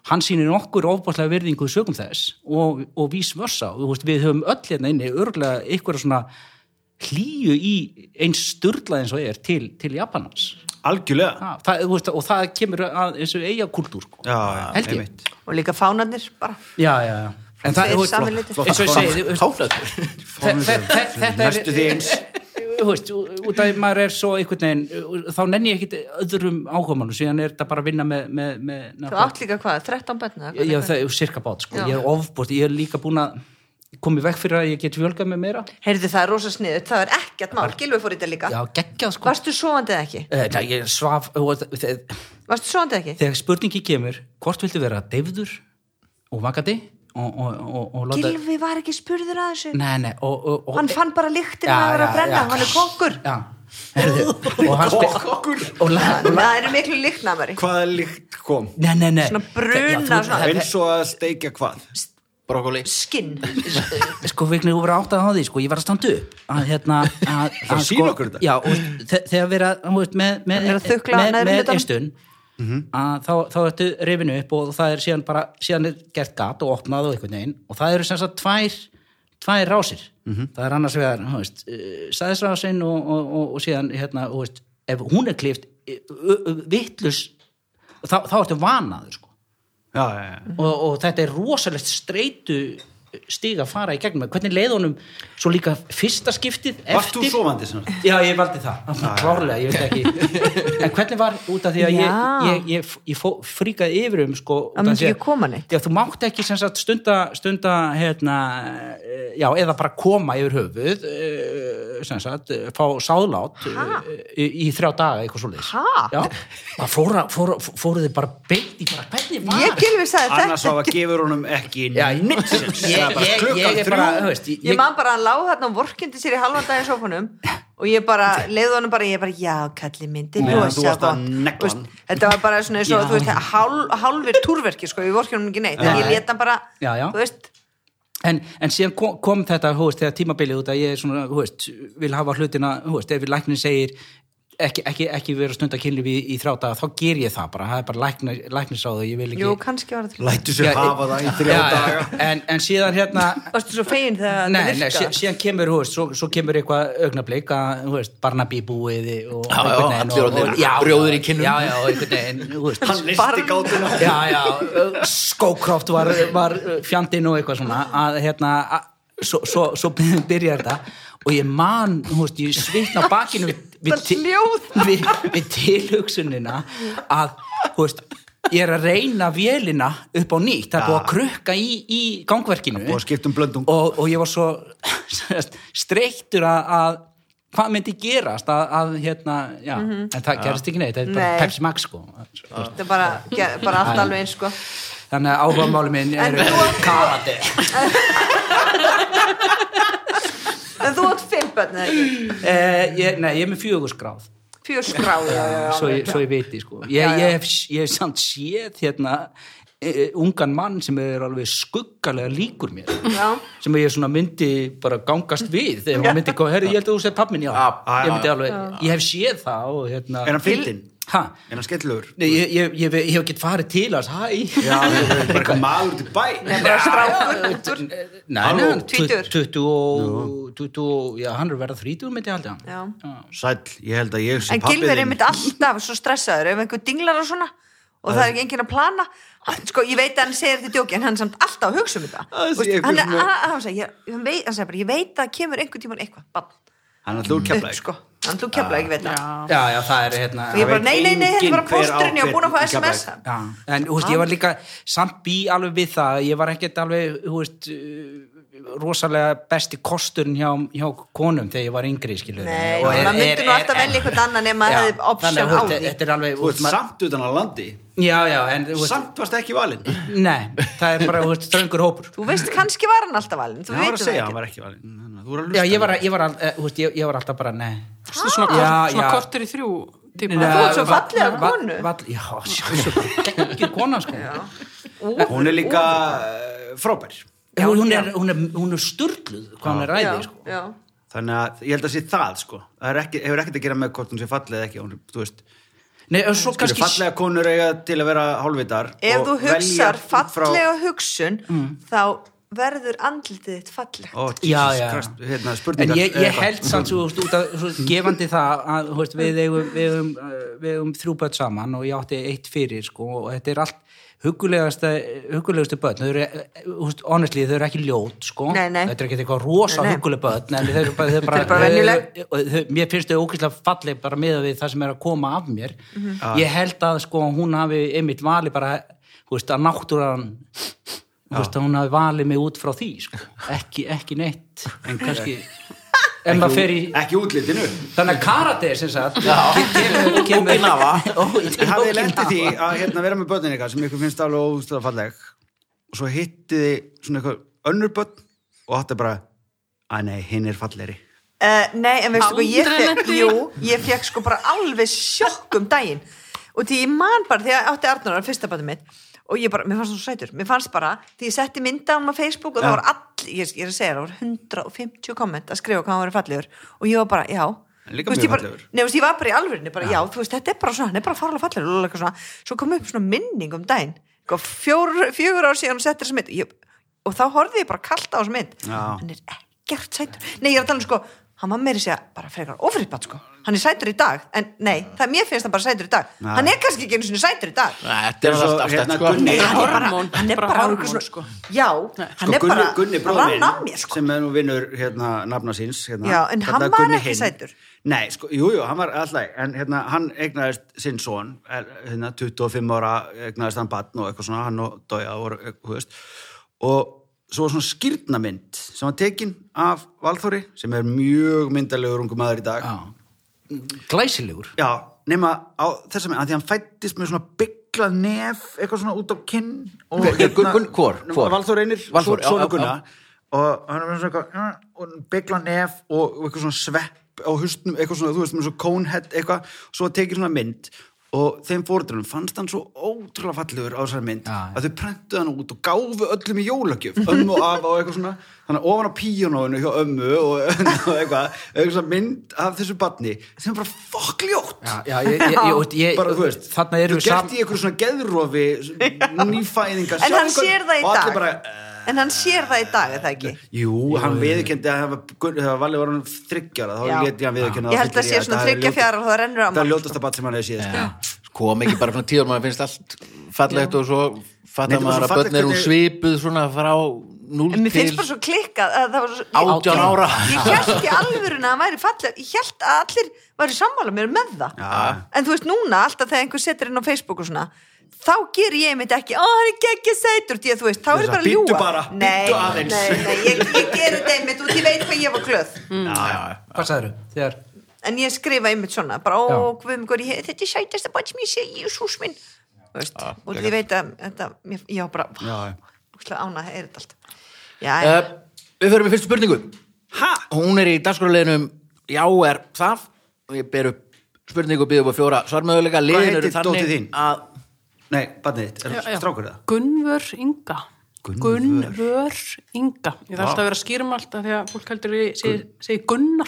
Speaker 5: hann sýnir okkur ofbáslega virðingu sögum þess og, og vís vörsa og þú veist, við höfum öll hérna inni örgulega ykkur svona hlýju í eins styrla eins og er til, til Japanans
Speaker 2: Algjörlega
Speaker 5: Ha, það, þú veist, og það kemur að eins og eiga kultúr sko.
Speaker 2: Já, já,
Speaker 5: held ég
Speaker 2: einmitt.
Speaker 4: Og líka fánarnir bara
Speaker 5: já, já, já. En það,
Speaker 4: Þeir
Speaker 5: þú veist,
Speaker 4: sami
Speaker 5: flott,
Speaker 4: litir.
Speaker 5: flott, eins og ég segi þú veist,
Speaker 1: Háflættur.
Speaker 5: þe- þe- þe- þetta
Speaker 2: Næstu því
Speaker 5: er
Speaker 2: eins
Speaker 5: þú veist, út af maður er svo einhvern veginn, þá nenni ég ekkit öðrum áhugamálum, síðan er þetta bara að vinna með, með, með
Speaker 4: Þú átt líka hvað, 13 bönna
Speaker 5: ég, ég, það er cirka bát, sko,
Speaker 4: Já.
Speaker 5: ég er ofbúst ég er líka búin að koma í veg fyrir að ég get fjölgað með meira,
Speaker 4: Heyrðu það er rosa sniður, það er ekkert mál Gilvi fór í þetta líka
Speaker 5: já, geggjað sko
Speaker 4: Varstu sofandi eða ekki?
Speaker 5: Eh, Nei, ég svaf og þe-
Speaker 4: Varstu sofandi eða ekki?
Speaker 5: þegar spurningi kemur, hvort viltu vera deyfður og vakandi og, og, og, og láta
Speaker 4: Gilvi var ekki spurður að þessu
Speaker 5: Nei, nei, og, og, og
Speaker 4: Hann fann bara lyktina
Speaker 5: Já,
Speaker 4: að vera að
Speaker 5: já,
Speaker 4: brenna,
Speaker 5: já.
Speaker 4: hann er kokkur
Speaker 5: Já, herðu, og hann spyr
Speaker 2: Kokkur
Speaker 5: og la, og la,
Speaker 4: Það eru miklu líknamari
Speaker 2: Hvaða líkt kom?
Speaker 5: Nei, nei, nei
Speaker 4: Svona bruna,
Speaker 5: Já, þú-
Speaker 4: svona-
Speaker 2: Eins og að steikja hvað?
Speaker 1: Brokkoli.
Speaker 4: Skinn
Speaker 5: Sko, vegna þú verið áttað á því, sko, ég var að standa upp að hérna að,
Speaker 2: Það
Speaker 5: að, sko,
Speaker 2: sýnir okkur þetta.
Speaker 5: Já, og þe- þegar vera, þú veist, með, með,
Speaker 4: Það er að þukla á
Speaker 5: með,
Speaker 4: neðri
Speaker 5: með
Speaker 4: hlutanum.
Speaker 5: einstun
Speaker 2: Mhm.
Speaker 5: að þá, þá ertu rifinu upp og það er síðan bara, síðan er gert gat og opnað og einhvern veginn og það eru sem sagt tvær, tvær rásir
Speaker 2: Mhm.
Speaker 5: það er annars vegar, þú veist, eh, sæðisrásin og, og, og, og síðan, hérna, þú veist ef hún er eh, klift vittlus, þá, þá ertu vanaður, sko
Speaker 2: Já, já, já
Speaker 5: og, og þetta er rosalegt streitu stíg að fara í gegnum það. hvernig leið honum svo líka fyrsta skiptið
Speaker 2: Vart
Speaker 5: eftir
Speaker 2: þú sofandi sem
Speaker 5: Já, ég valdi það, klárlega, ég veit (laughs) ekki En hvernig var út af því að ég,
Speaker 4: Já.
Speaker 5: ég, ég, ég fó, fríkaði yfir um sko, út af
Speaker 4: myndi
Speaker 5: því að-
Speaker 4: ekki koma neitt.
Speaker 5: Já, þú mátt ekki sem sagt stunda, stunda hérna, eh, já, eða bara koma yfir höfuð eh, sem sagt, eh, fá sáðlát eh, í, í þrjá daga, eitthvað svo leis
Speaker 4: Ha?
Speaker 5: Já, það fóra, fóra, fóru þið bara beint í bara, hvernig var
Speaker 4: Ég gilvi sagði
Speaker 2: annars
Speaker 4: þetta
Speaker 2: á að gefur honum ekki
Speaker 5: Já, ég,
Speaker 2: neitt
Speaker 5: ég,
Speaker 2: sens. Það er
Speaker 5: ég,
Speaker 2: bara
Speaker 5: ég,
Speaker 2: klukkan
Speaker 5: er
Speaker 2: þrjú.
Speaker 5: bara, þú veist
Speaker 4: Ég man bara að hann lá hérna og vorkindi sér í halvan dag í sófanum og ég bara, leiði honum bara, ég bara, já, kalli myndi,
Speaker 2: Meðan þú
Speaker 4: rosa
Speaker 2: varst að
Speaker 4: gott.
Speaker 2: negla
Speaker 4: Þú veist,
Speaker 2: hann.
Speaker 4: Þetta var bara svona eins og,
Speaker 5: Já.
Speaker 4: þú veist, hál, hálfur túrverki, sko, ég vorkjum hann ekki neitt, en ég
Speaker 5: Nei.
Speaker 4: leta hann bara,
Speaker 5: Já, já.
Speaker 4: þú veist,
Speaker 5: En, en síðan kom, kom þetta, hú veist, þegar tímabilið út að ég er svona, hú veist, vil hafa hlutina, hú veist, ef læknin segir ekki, ekki, ekki vera að stunda kynlíf í, í þráta, þá ger ég það bara, það er bara lækna, læknisráðu, ég vil ekki...
Speaker 4: jú, kannski var þetta
Speaker 2: lætu sér hafa það í þrjá daga
Speaker 5: En, en síðan hérna,
Speaker 4: (laughs) Varstu svo fegin þegar
Speaker 5: nei,
Speaker 4: þetta
Speaker 5: nei, sí,
Speaker 4: virkaði?
Speaker 5: síðan kemur, hú veist, svo, svo kemur eitthvað augnablík að, hú veist, Barnaby búiði og...
Speaker 1: Já, já,
Speaker 5: einhvern veginn
Speaker 1: allir
Speaker 5: og-
Speaker 1: orðnir
Speaker 5: og- já, já,
Speaker 1: rjóðir í kinnum.
Speaker 5: Já, já, einhvern veginn, hú veist,
Speaker 2: hann listi gátuna
Speaker 5: já, já, skókroft var, var fjandinn og eitthvað svona að hérna að, svo, svo, svo byrjar þetta og ég man, þú veist, ég svitna á bakinu við, við,
Speaker 4: Það
Speaker 5: til-
Speaker 4: hljóð.
Speaker 5: við, við tilhugsunina að, þú veist ég er að reyna vélina upp á nýtt það er búið að krukka í, í gangverkinu
Speaker 2: og skiptum blöndung
Speaker 5: og, og ég var svo streyktur að, að hvað myndi gerast að, að hérna, já, en það gerist ekki neitt það er bara
Speaker 4: Mhm. Nei.
Speaker 5: Pepsi Max sko
Speaker 4: Þetta er bara, ger- bara allt alveg eins, sko.
Speaker 5: Þannig að áhugamáli minn
Speaker 4: En
Speaker 5: eru
Speaker 4: þú-
Speaker 5: karate.
Speaker 4: En þú átt fimm börn, eða ekki?
Speaker 5: Eh, ég, nei, ég er með fjögurskráð,
Speaker 4: Fjör skráð, já, já, já.
Speaker 5: svo, ég- svo ég viti, sko. Ég,
Speaker 4: Já, já.
Speaker 5: ég, hef, ég hef samt séð hérna eh, ungan mann sem er alveg skuggalega líkur mér.
Speaker 4: Já.
Speaker 5: Sem ég svona myndi bara gangast við þegar maður myndi koma, herri, ég held að þú séð pappminn, já.
Speaker 2: já,
Speaker 5: Ég myndi alveg, ég hef séð það og hérna.
Speaker 2: er hann fyndin,
Speaker 5: Hæ?
Speaker 2: er hann skellur
Speaker 5: Nei, ég, ég, ég, ég hef ekki farið til hans, hæ?
Speaker 2: já, það er bara eitthvað maður til bæ
Speaker 4: Bara strákur, ungur.
Speaker 5: Nei,
Speaker 2: Halló,
Speaker 5: nei, hann-
Speaker 4: tvítugur.
Speaker 5: 20 og, 20 og, já, hann er verið að 30 myndi ég haldi hann.
Speaker 4: Já.
Speaker 2: sæll, ég held að ég sé
Speaker 4: En
Speaker 2: pappið
Speaker 4: Gilvi er
Speaker 2: þinn.
Speaker 4: einmitt alltaf svo stressaður ef einhver dinglar og svona og það er ekki enginn að plana hann, sko, ég veit að hann segir þetta í djóki en hann er samt alltaf að hugsa um þetta
Speaker 2: Það sé
Speaker 4: Þú veist,
Speaker 2: einhver
Speaker 4: hann, er,
Speaker 2: sem er-
Speaker 4: að, að, hann, segir, ég, hann, veit, hann segir bara, ég veit að það kemur einhver tíman eitthvað bann,
Speaker 2: hann er hlúr
Speaker 4: upp sko hann þú kemla ekki veit það
Speaker 5: já, já, það er hérna
Speaker 4: og ég bara,
Speaker 2: veit
Speaker 4: nei, nei, nei, þetta er
Speaker 2: enginn hver
Speaker 4: bara
Speaker 2: á
Speaker 4: pósturinn ég
Speaker 2: hvern
Speaker 4: er búin að fá
Speaker 2: í
Speaker 4: sms
Speaker 2: Keflavík.
Speaker 5: já. en þú veist, ég var líka samt bý alveg við það, ég var ekkert alveg þú veist, uh, rosalega besti kosturinn hjá, hjá konum þegar ég var yngri, skilur
Speaker 4: nei, maður myndi nú alltaf velja eitthvað annan ef maður hefði option á því
Speaker 5: þetta er alveg
Speaker 2: þú ert
Speaker 5: maður-
Speaker 2: samt utan á landi
Speaker 5: já, já, en þú veist,
Speaker 2: samt varst ekki valinn ég
Speaker 5: nei, það er bara þú veist, ströngur hópur
Speaker 4: þú veist, kannski var hann alltaf valinn þú
Speaker 2: var að
Speaker 4: veit það
Speaker 2: segja,
Speaker 4: ekki
Speaker 2: hann var ekki valinn Þannig að þú voru að
Speaker 5: já, ég var,
Speaker 2: hlusta.
Speaker 5: ég var, al, eh, þú veist, ég, ég var alltaf bara, nei
Speaker 3: Svona, svona,
Speaker 5: Já,
Speaker 3: kort, svona
Speaker 5: já.
Speaker 3: kortur í þrjú tíma.
Speaker 4: Þú ert svo fallega
Speaker 5: Vall-
Speaker 4: konu.
Speaker 5: vall- já, sjálfsög, ekki kona sko
Speaker 2: hún er líka uh, frábær
Speaker 5: Já, hún er, hún er, hún er sturgluð hvað hún er
Speaker 4: já,
Speaker 5: ræðið sko.
Speaker 4: já,
Speaker 2: þannig að ég held að sé það sko það er ekki, hefur ekkert að gera með hvort hún sé fallið eða ekki hún, er- þú veist,
Speaker 5: Nei, og svo
Speaker 2: Kannski...
Speaker 5: kannski
Speaker 2: fallega konur eiga til að vera hálfvitar
Speaker 4: ef
Speaker 2: og
Speaker 4: þú
Speaker 2: velja
Speaker 4: hugsar
Speaker 2: út frá- Mm.
Speaker 4: fallega hugsun þá verður andlitið þitt fallegt
Speaker 2: Ó, Jesus
Speaker 5: já, já.
Speaker 2: Christ, hérna,
Speaker 5: en
Speaker 2: spurningar
Speaker 5: ég,
Speaker 2: eða
Speaker 5: ég
Speaker 2: eitthvað.
Speaker 5: held samt svo, út að, svo gefandi það að þú veist, við eigum, við eigum, eh, við eigum þrjú börn saman og ég átti eitt fyrir sko, og þetta er allt hugulegasta hugulegustu börn þau eru, eh, þú veist, honestly, þau eru ekki ljót sko.
Speaker 4: Nei, nei.
Speaker 5: þetta er ekki eitthvað rosa
Speaker 4: Nei, nei.
Speaker 5: huguleg börn en þau eru bara, þau eru bara,
Speaker 4: Þau eru bara venjuleg.
Speaker 5: og þau- mér finnst þau ókvæslega falleg bara með við það sem er að koma af mér
Speaker 4: Mhm.
Speaker 2: Ah.
Speaker 5: ég held að sko hún hafi einmitt valið bara, þú veist, að náttúran þú veist, að hún hafi valið mig út frá því, sko, ekki, ekki neitt en kannski en maður fer í,
Speaker 2: ekki útlitinu
Speaker 5: þannig að karate er sem sagt, kemur, kemur Okinawa, (laughs)
Speaker 2: hafið þið lendið því að hérna, vera með börnin eitthvað sem ykkur finnst alveg óstæða falleg og svo hittið þið svona eitthvað önnur börn og átti bara að nei, hinn er fallegri
Speaker 4: Uh, nei, en veistu hvað, ég
Speaker 3: Aldrei
Speaker 4: fekk,
Speaker 3: lent í-
Speaker 4: jú, ég fekk sko bara alveg sjokk um daginn og því ég man bara, því að átti Arnur var fyrsta bætið mitt og ég bara, mér fannst það svo sætur, mér fannst bara því ég setti mynda á hann á Facebook og það var all, ég, ég er að segja, það var 150 komment að skrifa hvað hann var fallegur og ég var bara, já,
Speaker 2: En líka
Speaker 4: Þú veist,
Speaker 2: mjög
Speaker 4: ég bara,
Speaker 2: fallegur.
Speaker 4: Nei, þú veist, ég var bara í alvörinu, bara, já. þú veist, þetta er bara svona, hann er bara farlega fallegur og eitthvað svona, svo kom upp svona minning um daginn, eitthvað fjór, fjögur ár síðan hún setti þessa mynd, ég, og þá horfði ég bara kalt á þessa mynd,
Speaker 2: Já.
Speaker 4: hann er ekkert sætur, nei, ég er að tala um sko, hann var meiri segja bara frekar ofriðbætt sko, hann er sætur í dag en nei, það, mér finnst hann bara sætur í dag
Speaker 2: Nei.
Speaker 4: hann er kannski ekki einu sinni sætur í dag
Speaker 1: Þetta er
Speaker 2: Eins og
Speaker 1: alltaf
Speaker 2: hérna
Speaker 1: þetta sko
Speaker 2: Gunni.
Speaker 1: Nei,
Speaker 4: hann er bara,
Speaker 3: hormón,
Speaker 4: hann er
Speaker 3: bara
Speaker 4: bara, bara
Speaker 3: hormón,
Speaker 4: svona,
Speaker 3: sko.
Speaker 4: já,
Speaker 2: Sko,
Speaker 4: hann er
Speaker 2: Gunni,
Speaker 4: bara
Speaker 2: Gunni
Speaker 4: rann af
Speaker 2: bróðin
Speaker 4: mér sko.
Speaker 2: sem er nú vinnur hérna nafna síns hérna,
Speaker 4: Já, en hann
Speaker 2: kallaður
Speaker 4: var
Speaker 2: Gunni
Speaker 4: ekki
Speaker 2: Hinn.
Speaker 4: sætur.
Speaker 2: Nei, sko, jú, jú, hann var alltaf en hérna, hann eignaðist sinn son hérna, 25 ára eignaðist hann batn og eitthvað svona, hann og dója og, veist, og svo var svona skýrnamynd sem var tekin af Valþóri sem er mjög myndalegur ungu maður í dag
Speaker 5: Já. Glæsilegur.
Speaker 2: Já, nema á þessa með að því hann fættist með svona bygglað nef eitthvað svona út á kinn og hérna-
Speaker 1: Hver- Gunn- Gunn- hvor?
Speaker 2: Nema,
Speaker 1: Hvor?
Speaker 2: Valþór Einir,
Speaker 1: Valþór, já, já,
Speaker 2: svona Gunna og hann er með svona eitthvað "Ah", og bygglað nef og eitthvað svona svepp á hustnum, eitthvað svona, þú veist, með svona conehead eitthvað, svo tekið svona mynd og þeim fóruðurum fannst hann svo ótrúlega fallegur á þessari mynd
Speaker 5: Já, já.
Speaker 2: að þau prentuðu hann út og gáfu öllum í jólagjöf ömmu og afa og eitthvað svona þannig að ofan á píjónóinu hjá ömmu og, (laughs) og eitthvað, eitthvað svona mynd af þessu badni sem er bara fokkljótt
Speaker 5: Já, já, ég, ég, ég, ég,
Speaker 2: bara þú veist,
Speaker 5: þarna eru
Speaker 2: þú gert í einhverju svona geðrofi nýfæðinga
Speaker 4: (laughs) En hann
Speaker 2: sjálfkvæm-
Speaker 4: sér það í
Speaker 2: og
Speaker 4: dag.
Speaker 2: allir bara, "Eh,
Speaker 4: en hann sér það í dag, er það ekki
Speaker 2: Jú, hann viðkendi að það var alveg var hann þryggjara þá
Speaker 4: Já.
Speaker 2: leti hann viðkendi
Speaker 4: Ég held að sé svona þriggja, fjara og það rennur á
Speaker 2: Það er
Speaker 4: mann,
Speaker 2: ljótasta bat sem hann hefði síðast sko.
Speaker 1: kom ekki bara svona tíður maður finnst allt fallegt og svo
Speaker 2: Nei,
Speaker 1: fattar
Speaker 2: þetta var
Speaker 1: maður
Speaker 2: svo
Speaker 1: að börn eru
Speaker 2: fallegt
Speaker 1: svipuð svona frá 0
Speaker 4: en
Speaker 1: til
Speaker 4: mér finnst bara svo klikkað að það var svo, ég-
Speaker 1: 18 ára
Speaker 4: ég held í alvöruna að hann væri falleg ég held að allir væri sammála mér með það
Speaker 2: Já.
Speaker 4: en þú veist núna alltaf þegar einhver setur inn á Facebook og svona þá ger ég mitt ekki, ó hann er geggja sætur því að þú veist, þá er
Speaker 2: Þess
Speaker 4: ég
Speaker 2: að
Speaker 4: bara að ljúga
Speaker 2: bíddu bara,
Speaker 4: nei,
Speaker 2: bíddu aðeins.
Speaker 4: nei, nei, ég, ég ger þetta einmitt út, ég veit hvað ég var glöð
Speaker 5: Hvað sagður þau? Þegar,
Speaker 4: en ég skrifa einmitt svona, bara
Speaker 5: Já.
Speaker 4: ó, hvað minn, ég, þetta er sætasta bætt sem ég sé, jésús minn þú veist,
Speaker 1: Já,
Speaker 4: og
Speaker 1: geggjað.
Speaker 4: ég veit að þetta, mér, ég var bara
Speaker 2: Já, já.
Speaker 4: ána, það er þetta allt já,
Speaker 1: Eh,
Speaker 4: en-
Speaker 1: Við fyrir með fyrstu spurningu
Speaker 2: Ha?
Speaker 1: Hún er í dagskráleginum Já er það og ég ber upp spurningu og býðum á fjóra svarmöðuleika Liðin eru
Speaker 2: heitir dóttir
Speaker 1: þannig
Speaker 2: þín?
Speaker 1: að
Speaker 2: Nei, badnið þitt, er
Speaker 3: Já, já.
Speaker 2: það strákur það?
Speaker 3: Gunnvör Inga
Speaker 2: Gunnvör.
Speaker 3: Gunnvör Inga Ég þarf alltaf að vera að skýra mig alltaf því að fólk heldur ég segi, segi Gunnar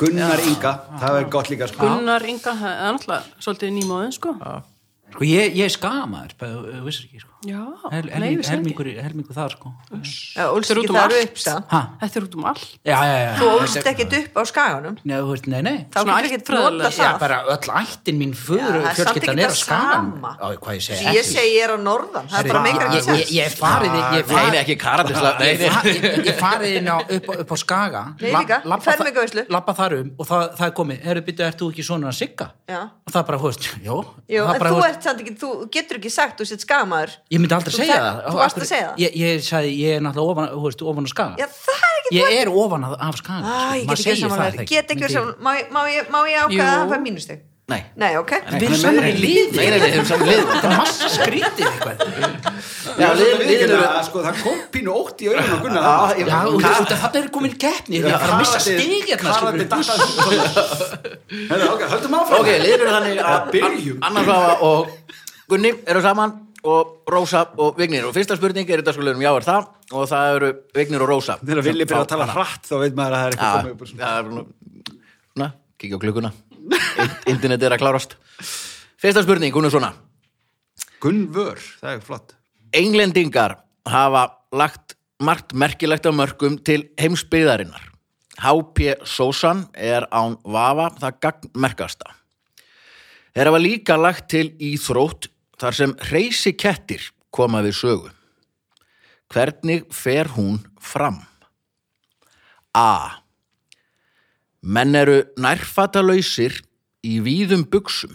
Speaker 2: Gunnar Inga, það er gott líka sko.
Speaker 3: Gunnar Inga, það er náttúrulega svolítið nýmóðin sko
Speaker 5: sko, ég, ég er skamaður, bara, þú vissir ekki, sko.
Speaker 3: Já,
Speaker 5: Hel,
Speaker 3: nei,
Speaker 5: helming,
Speaker 3: vissi það
Speaker 5: helmingur, helmingur þar, sko.
Speaker 4: Já, ólst
Speaker 3: Þetta er út
Speaker 4: ekki
Speaker 3: um
Speaker 4: þar
Speaker 3: allt.
Speaker 4: upp það.
Speaker 5: Ha?
Speaker 3: Þetta er út um allt
Speaker 5: Já, já, já.
Speaker 4: Þú ólst ekkert upp á skaganum
Speaker 5: Nei, þú veist, nei, nei.
Speaker 4: Þá
Speaker 3: Svona
Speaker 4: getur ekki
Speaker 3: ættfræðilega.
Speaker 4: nota
Speaker 5: Já,
Speaker 4: það
Speaker 5: bara öll ættin mín föður
Speaker 4: Já, það er samt ekki
Speaker 5: fjölskyldan
Speaker 4: það
Speaker 5: er að skagan.
Speaker 4: sama.
Speaker 5: Já, hvað ég segi
Speaker 4: Ég, ég segi ég er á norðan Það er bara meikar ekki
Speaker 5: ég, ég,
Speaker 4: sens
Speaker 5: ég, ég farið í- ég
Speaker 1: Ah, Nei,
Speaker 5: farið
Speaker 1: nei, ekki karatisla Nei,
Speaker 5: Ég,
Speaker 1: nei
Speaker 5: fa- ég, ég farið inn á, upp, á- upp á Skaga
Speaker 4: Nei, líka,
Speaker 5: lab- labba
Speaker 4: fermingarveislu.
Speaker 5: þa- labba þar um og það, það er komið, eru byrju, ert þú ekki svona að sigga?
Speaker 4: Já.
Speaker 5: og það er bara, þú veist, jó,
Speaker 4: Jú,
Speaker 5: það
Speaker 4: en
Speaker 5: bara,
Speaker 4: þú
Speaker 5: veist,
Speaker 4: ert samt ekki, þú getur ekki sagt þú sett skamaður
Speaker 5: ég myndi aldrei
Speaker 4: þú
Speaker 5: segja
Speaker 4: þarft- þú
Speaker 5: það Á,
Speaker 4: varst
Speaker 5: af
Speaker 4: að segja það.
Speaker 5: hverju- ég, ég sagði, ég er náttúrulega ofan, þú veist, ofan á Skaga
Speaker 4: Já, það er ekki
Speaker 5: ég er ofan af, af Skaga
Speaker 4: Æ,
Speaker 5: sko.
Speaker 4: ég
Speaker 5: Maður
Speaker 4: get ekki
Speaker 5: segir það,
Speaker 4: samanlega
Speaker 5: það
Speaker 4: Get ekki
Speaker 5: Myndi-
Speaker 4: verið saman Má ég- má ég- má ég
Speaker 3: Jú.
Speaker 4: ákvæða að það fær mínusteg?
Speaker 1: Nei.
Speaker 4: Nei, ok
Speaker 5: Við erum
Speaker 1: Nei,
Speaker 5: saman í
Speaker 1: nei,
Speaker 5: liði
Speaker 1: Nei, nei, við erum saman í liði.
Speaker 5: Þetta er massa skrítið eitthvað
Speaker 1: Já,
Speaker 2: Já,
Speaker 1: liðin- liðin eru
Speaker 2: að, sko, það kom pínu ótt í auðvitað Gunnar Já,
Speaker 5: Já, út af út af þarna er komin keppni Ég er að fara að missa stig hérna
Speaker 2: Karate
Speaker 5: skilurðu.
Speaker 2: Hérna, ok, höldum áfram
Speaker 1: Ok, liðin eru þannig
Speaker 2: Eða
Speaker 1: að
Speaker 2: byrjum.
Speaker 1: Annarsvafa og Gunni eru saman og Rósa og Vignir og fyrsta spurning er í dagskráleginum Já er það og það eru Vignir og Rósa
Speaker 2: Þegar Vili byrja að tala
Speaker 1: Fá-
Speaker 2: hratt þá veit maður að það er eitthvað
Speaker 1: Já,
Speaker 2: komið upp úr svona.
Speaker 1: það er nú- svona, kíkja á klukkuna In- Internet er að klárast Fyrsta spurning, hún er svona
Speaker 2: Gunnvör, það er flott
Speaker 1: Englendingar hafa lagt margt merkilegt af mörgum til heimsbyðarinnar H.P. Sósan er án vafa það gagnmerkasta Þeir hafa líka lagt til íþrótt þar sem reysi kettir koma við sögu Hvernig fer hún fram? A. Menn eru nærfatalausir í víðum buksum,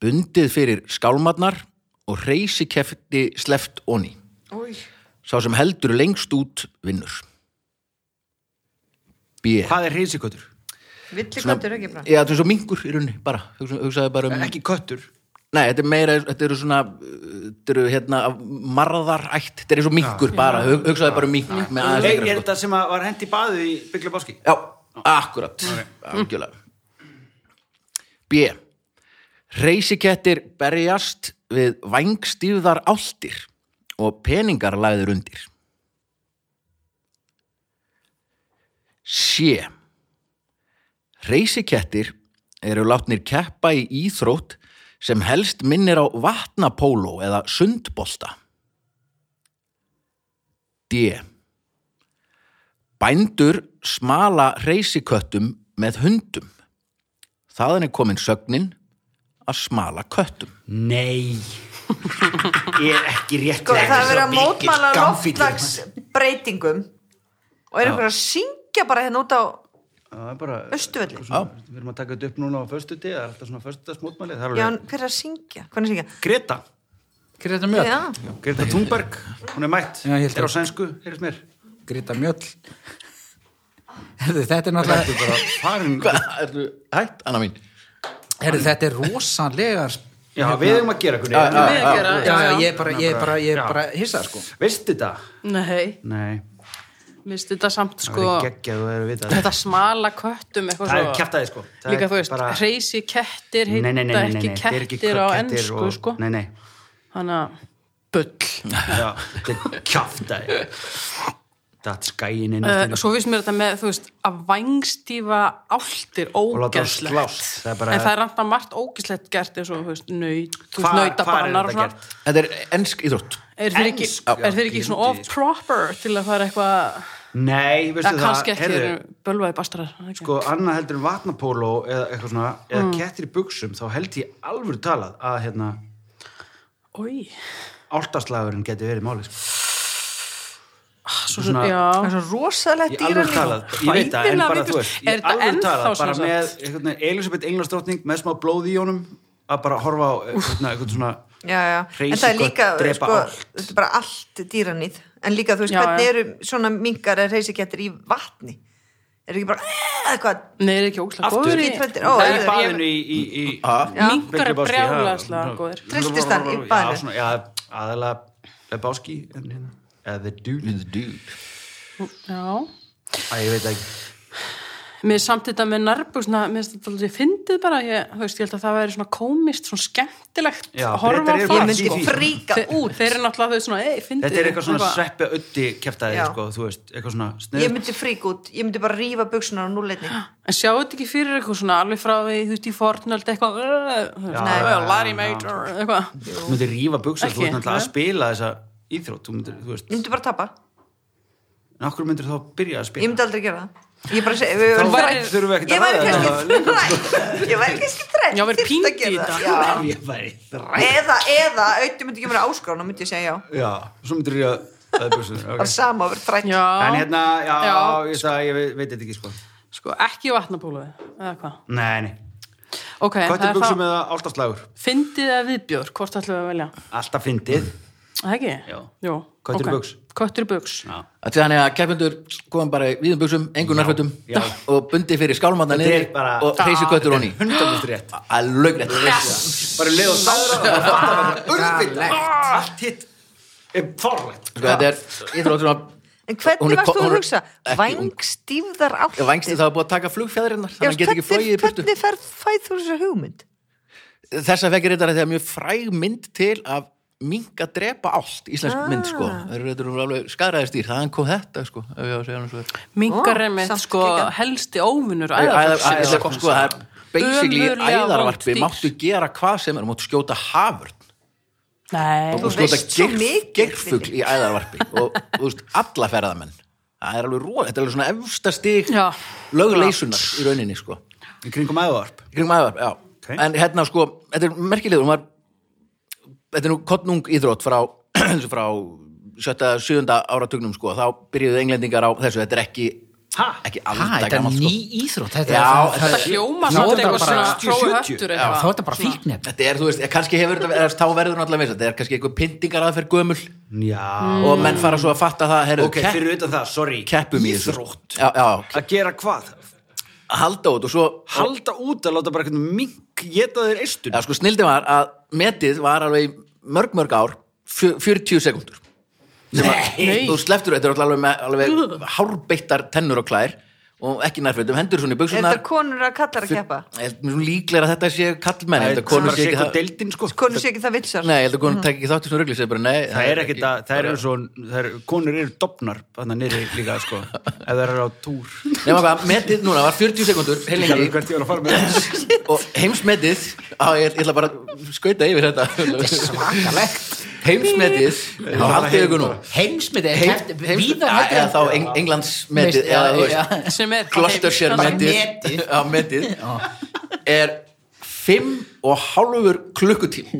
Speaker 1: bundið fyrir skálmarnar og reysikefti sleft onni.
Speaker 4: Új.
Speaker 1: Sá sem heldur lengst út vinnur. B.
Speaker 2: Hvað er hreinsikötur?
Speaker 4: Villi
Speaker 1: Svona-
Speaker 4: göttur ekki bara
Speaker 1: Já, þetta er svo mingur í rauninni, bara. Hugsa, hugsaði bara um...
Speaker 2: Eh, Ekki köttur
Speaker 1: Nei, þetta er meira, þetta eru svona, uh, þetta eru hérna af marðarætt, þetta er svo mingur bara. Hug- Hugsaði bara um mink með aðeins
Speaker 2: Er, er
Speaker 1: lengra, sko.
Speaker 2: þetta sem að var hendi í baðið í Byggla Báski?
Speaker 1: Já, akkurat Algjörlega B Reysikettir berjast við vangstíðar áltir og peningar lagðir undir C Reysikettir eru látnir keppa í íþrótt sem helst minnir á vatnapóló eða sundbolta D Bændur smala reysiköttum með hundum Þaðan er komin sögnin að smala köttum.
Speaker 2: Nei (laughs) Ég er ekki rétt
Speaker 4: Sko,
Speaker 2: Þetta
Speaker 4: það er verið
Speaker 2: svo mikill hérna.
Speaker 4: að mótmæla
Speaker 2: gammfíll.
Speaker 4: loftlagsbreytingum og er einhver að syngja bara hérna út á
Speaker 2: Það er bara
Speaker 4: Austurvelli.
Speaker 2: svona- Við erum að taka þetta upp núna á föstu það er alltaf svona föstu smótmæli Það er alveg
Speaker 4: Já, en hver er að syngja? Hvernig syngja?
Speaker 2: Greta
Speaker 5: Greta
Speaker 4: Já,
Speaker 5: Mjöll
Speaker 2: Greta Thunberg, hún er mætt
Speaker 5: Já, ég held
Speaker 2: er á
Speaker 5: að-
Speaker 2: sænsku, heyrðist mér
Speaker 5: Greta Mjöll Herðu, þetta er náttúrulega
Speaker 2: Farin,
Speaker 1: Hvað, ertu hætt, Anna mín?
Speaker 5: Herðu, þetta er rosalegar
Speaker 2: já,
Speaker 6: hérna,
Speaker 2: við erum að gera kunni
Speaker 1: Já,
Speaker 3: Við að gera,
Speaker 5: Já, já, ég er bara, ég er bara, ég er bara hissa, sko
Speaker 2: Veistu þetta?
Speaker 3: Nei,
Speaker 2: Nei,
Speaker 3: minnst þetta samt
Speaker 2: það
Speaker 3: sko
Speaker 2: er geggjað og það er að vita
Speaker 3: þetta smala köttum eitthvað
Speaker 2: Það er
Speaker 3: svo-
Speaker 2: kjaftaði, sko. Það
Speaker 3: Líka
Speaker 2: er
Speaker 3: þú veist,
Speaker 2: bara-
Speaker 3: hreysi kettir
Speaker 2: Nei,
Speaker 3: heita
Speaker 2: nei, nei, nei, nei, nei,
Speaker 3: ekki
Speaker 2: þetta er ekki
Speaker 3: kettir á
Speaker 2: kettir
Speaker 3: ennsku
Speaker 2: og-
Speaker 3: sko
Speaker 2: Nei, nei,
Speaker 3: Þannig að bull
Speaker 2: já, þetta er kjaftaði Datt skæin inn
Speaker 3: Uh, svo vissum mér þetta með, þú veist, að vængstífa áltir
Speaker 2: láta þá
Speaker 3: ógæslegt
Speaker 2: slást, það er bara-
Speaker 3: en það er randa margt ógæslegt gert eins og, þú veist, nöyt, þú veist,
Speaker 2: Hvar- hvar er
Speaker 3: nautabannar og
Speaker 2: þetta
Speaker 3: svona
Speaker 1: Þetta er ennsk íþrótt.
Speaker 3: er þeir ekki,
Speaker 2: Ensk, já,
Speaker 3: er þeir ekki svona
Speaker 2: píndi,
Speaker 3: of proper til að fara eitthvað
Speaker 2: Nei, veistu
Speaker 3: að
Speaker 2: það
Speaker 3: Eh, kannski ekki
Speaker 2: heyrðu,
Speaker 3: þeir eru bölvaði bastrar
Speaker 2: sko, annað heldur en vatnapóló eða eitthvað svona, eða
Speaker 3: Mm.
Speaker 2: kettir í buksum þá held ég alvöru talað að hérna,
Speaker 3: Ói,
Speaker 2: áltaslagurinn geti verið máli sko.
Speaker 3: Ah, svo
Speaker 2: Svona-
Speaker 3: svona,
Speaker 4: það
Speaker 3: já
Speaker 4: er svo
Speaker 2: ég
Speaker 4: rosalegt
Speaker 2: alvöru talað, ég veit það en
Speaker 3: Hræðilega
Speaker 2: bara
Speaker 3: vitlaust.
Speaker 2: þú veist,
Speaker 3: Er
Speaker 2: ég
Speaker 3: þetta
Speaker 2: alvöru
Speaker 3: ennþá
Speaker 2: talað bara
Speaker 3: svona
Speaker 2: með
Speaker 3: satt?
Speaker 2: einhvern veginn Elisabeth Englandsdrottning með smá blóð í honum að bara horfa á einhvern, einhvern svona
Speaker 4: Já, já, en það er
Speaker 2: Hreysikött
Speaker 4: líka,
Speaker 2: drepa
Speaker 4: sko,
Speaker 2: allt.
Speaker 4: þetta er bara allt dýranýð en líka, þú veist,
Speaker 3: Já,
Speaker 4: hvernig
Speaker 3: já.
Speaker 4: eru svona minkar eða reysikettir í vatni er ekki bara, "Eh", eða hvað
Speaker 3: Nei, er ekki ógæslega
Speaker 2: Aftur
Speaker 3: góður í
Speaker 4: í trendin, ó,
Speaker 2: það er í
Speaker 4: heyrðu, ég-
Speaker 2: baðinu í, í, í
Speaker 4: Já.
Speaker 3: Minkar er
Speaker 2: Lebowski, já,
Speaker 3: brjálæðslega
Speaker 2: svona-
Speaker 3: góður
Speaker 4: Trylltist hann
Speaker 2: Já,
Speaker 4: í baðinu?
Speaker 2: svona, já, aðalega Lebowski en hérna, eða The Dude
Speaker 3: Já
Speaker 2: að ég veit ekki
Speaker 3: Mér er samt þetta með nærbúsna, mér finnst þetta alveg fyndið bara, ég, þú veist, ég held að það væri svona komist, svona skemmtilegt
Speaker 2: Já,
Speaker 3: að horfa
Speaker 2: Bretar
Speaker 3: á
Speaker 2: eru
Speaker 3: það,
Speaker 2: bara í því, sko.
Speaker 4: Fríka
Speaker 3: Þe-
Speaker 4: út.
Speaker 3: Þeir eru náttúrulega þau svona, ei, fyndið.
Speaker 2: Þetta er eitthvað svona
Speaker 3: Eitthvað-
Speaker 2: sveppi öddi kæftæði,
Speaker 4: Já.
Speaker 2: sko, þú veist, eitthvað svona
Speaker 4: ég
Speaker 2: snið.
Speaker 4: myndi frík út, ég myndi bara rífa buksuna á núleitni
Speaker 3: En sjáu þetta ekki fyrir eitthvað svona alveg frá því, þú veist, í fornöld eitthvað, "Ugh", þú veist,
Speaker 2: Já,
Speaker 3: "Well,
Speaker 2: já,
Speaker 3: Larry
Speaker 2: já,
Speaker 3: Major, eitthvað.
Speaker 2: Þú myndir rífa buksar, þú
Speaker 3: Ekki,
Speaker 2: ert náttúrulega að
Speaker 3: nei.
Speaker 2: spila þessa íþrótt, þú myndir, þú veist,
Speaker 4: ég myndi bara tapa,
Speaker 2: en okkur myndir þá byrja að
Speaker 4: ég
Speaker 2: spila.
Speaker 4: myndi aldrei gera það ég bara segi, við
Speaker 2: Þá
Speaker 4: verðum
Speaker 3: væri-
Speaker 4: þrætt
Speaker 2: væri- þurfum við ekkert
Speaker 4: ég væri
Speaker 2: ræða
Speaker 4: (laughs) kannski þrætt ég væri kannski þrætt
Speaker 3: Já, verið pínd í þetta.
Speaker 2: það. (laughs) Ég væri þrætt.
Speaker 4: eða, eða, auðvitað myndi ekki mér áskrána myndi ég segja já,
Speaker 2: Já, svo myndir rífa öddi buksar.
Speaker 4: bara
Speaker 2: Okay.
Speaker 4: sama og verið þrætt
Speaker 3: Já,
Speaker 2: En hérna, já,
Speaker 3: Já.
Speaker 2: ég, það, ég veit, veit þetta ekki, sko.
Speaker 3: sko, ekki vatnabóluði, eða hvað.
Speaker 2: Nei, nei.
Speaker 3: Ok, það
Speaker 2: Hvað
Speaker 3: er
Speaker 2: er buksum
Speaker 3: það,
Speaker 2: eða áltaslagur?
Speaker 3: fyndið eða viðbjör, hvort ætlum við að velja?
Speaker 2: Alltaf fyndið.
Speaker 3: Er Það ekki?
Speaker 2: Já.
Speaker 3: Jú,
Speaker 2: Köttur í
Speaker 3: ok.
Speaker 2: buxum.
Speaker 3: Köttur í buks.
Speaker 1: Þannig þannig að keppendur komum bara í víðum buksum, engun nærfötum
Speaker 2: já.
Speaker 1: og bundi fyrir skálmanna
Speaker 2: Þetta er
Speaker 1: niður
Speaker 2: bara-
Speaker 1: og hreysi köttur honni.
Speaker 2: Hundarbúst rétt.
Speaker 1: Að lögrætt.
Speaker 2: (laughs) Bara leið og sára og fattar urfitt. Ah, Allt hitt er forrætt.
Speaker 1: Sko, þetta er íþrótt sem að Hún
Speaker 4: en
Speaker 1: er
Speaker 4: hvernig varst
Speaker 1: ko-
Speaker 4: þú
Speaker 1: hún
Speaker 4: að
Speaker 1: er
Speaker 4: hugsa
Speaker 1: ekki ung.
Speaker 4: vængstífðar átt
Speaker 1: Ég vangstu það að búið að taka flugfjæðurinnar þannig að hann
Speaker 4: Já,
Speaker 1: geti ekki flogið í burtu.
Speaker 4: hvernig ferð fæð þú þessu hugmynd?
Speaker 1: Þessa fekir þetta þegar mjög fræg mynd til af mink að drepa allt íslensk mynd sko.
Speaker 4: Ah.
Speaker 1: Það eru þetta eru alveg skaraðistýr, þaðan kom þetta sko, ef ég á að segja hann svo.
Speaker 3: Mingar
Speaker 4: Ó,
Speaker 3: er mitt
Speaker 4: samt
Speaker 3: sko
Speaker 4: geggjað.
Speaker 3: helsti óvinnur
Speaker 1: Æða-
Speaker 3: æðarfólksins,
Speaker 1: æða-
Speaker 3: sko.
Speaker 1: sko, það er basically í
Speaker 3: Ömurlega vond
Speaker 1: æðarvarpi
Speaker 3: dýr.
Speaker 1: máttu gera hvað sem er, máttu skjóta hafurn
Speaker 3: Nei,
Speaker 1: og skjóta
Speaker 4: veist svo
Speaker 1: geirf-
Speaker 4: mikið,
Speaker 1: geirfugl í æðarvarpi og þú veist, alla ferðamenn það er alveg róð, þetta er alveg svona efsta stig
Speaker 3: Já.
Speaker 1: lögleisunar í rauninni sko
Speaker 2: Í kringum æðvarp.
Speaker 1: Í kringum æðarvarp, já
Speaker 2: Ok.
Speaker 1: en hérna sko, þetta er merkilegur hún var, þetta er nú kottnung íþrótt frá, (clears throat) frá sjötta, sjöunda áratugnum sko þá byrjuðu englendingar á þessu, þetta er ekki
Speaker 2: Ha?
Speaker 1: ekki
Speaker 5: Ha,
Speaker 1: alveg
Speaker 5: þetta er ný íþrótt þetta
Speaker 1: sko. Já,
Speaker 5: er-
Speaker 1: þetta
Speaker 3: þetta
Speaker 5: það-
Speaker 3: hljóma
Speaker 5: Nú er
Speaker 3: samt
Speaker 5: þetta
Speaker 3: eitthvað
Speaker 5: bara-
Speaker 3: svona
Speaker 2: 60,
Speaker 3: prófi
Speaker 2: 70,
Speaker 3: höttur
Speaker 5: Já,
Speaker 3: eitthvað.
Speaker 5: þá er þetta bara fíknef
Speaker 1: Þetta er, þú veist, kannski hefur þetta, eða þá verður náttúrulega veist, þetta er kannski einhver pyntingar aðferð gömul
Speaker 2: Já.
Speaker 1: og menn fara svo að fatta það, herru,
Speaker 2: ok, fyrir utan það, sorry
Speaker 1: keppum í þessu.
Speaker 2: Íþrótt.
Speaker 1: Já, já,
Speaker 2: að gera hvað?
Speaker 1: halda út og svo,
Speaker 2: halda út að láta bara einhvern mink geta þeir eistun
Speaker 1: já, sko, snildi var að metið var alveg í mörg, mörg ár, fjö- 40 sekundur.
Speaker 3: Nei.
Speaker 1: Þú sleftur, þetta er alveg, með, alveg hárbeittar tennur og klær og ekki nærfötum, hendur svona í
Speaker 4: Er þetta
Speaker 1: buksunar.
Speaker 4: konur að kallar að keppa?
Speaker 1: Líklega að þetta sé kallmenn, ég held að konur sé ekki
Speaker 2: eitthvað
Speaker 1: það.
Speaker 2: deildin sko
Speaker 4: Konur sé ekki það vilsar?
Speaker 1: Nei, ég held að konur tek ekki þátt í svona rugli, segir bara nei.
Speaker 2: það er ekki það, það eru svo það eru, konur eru dopnar þannig nýri líka sko ef það eru á túr
Speaker 1: Nefna hvað, metið núna var 40 sekundur, heilengi,
Speaker 2: hvert ég var að fara með það
Speaker 1: (laughs) og heimsmetið á, ég, ég ætla bara að skauta yfir þetta
Speaker 5: svakalegt
Speaker 1: heimsmetið á haldið ykkur nú
Speaker 5: heimsmyndi er keft
Speaker 1: Ja, eða þá Eng- Englandsmetið
Speaker 5: Veist,
Speaker 1: eða þú
Speaker 5: já,
Speaker 1: veist
Speaker 3: sem er
Speaker 1: Gloucestershire
Speaker 5: Bara
Speaker 1: metið
Speaker 5: metið.
Speaker 1: á metið er fimm og hálfur klukkutíma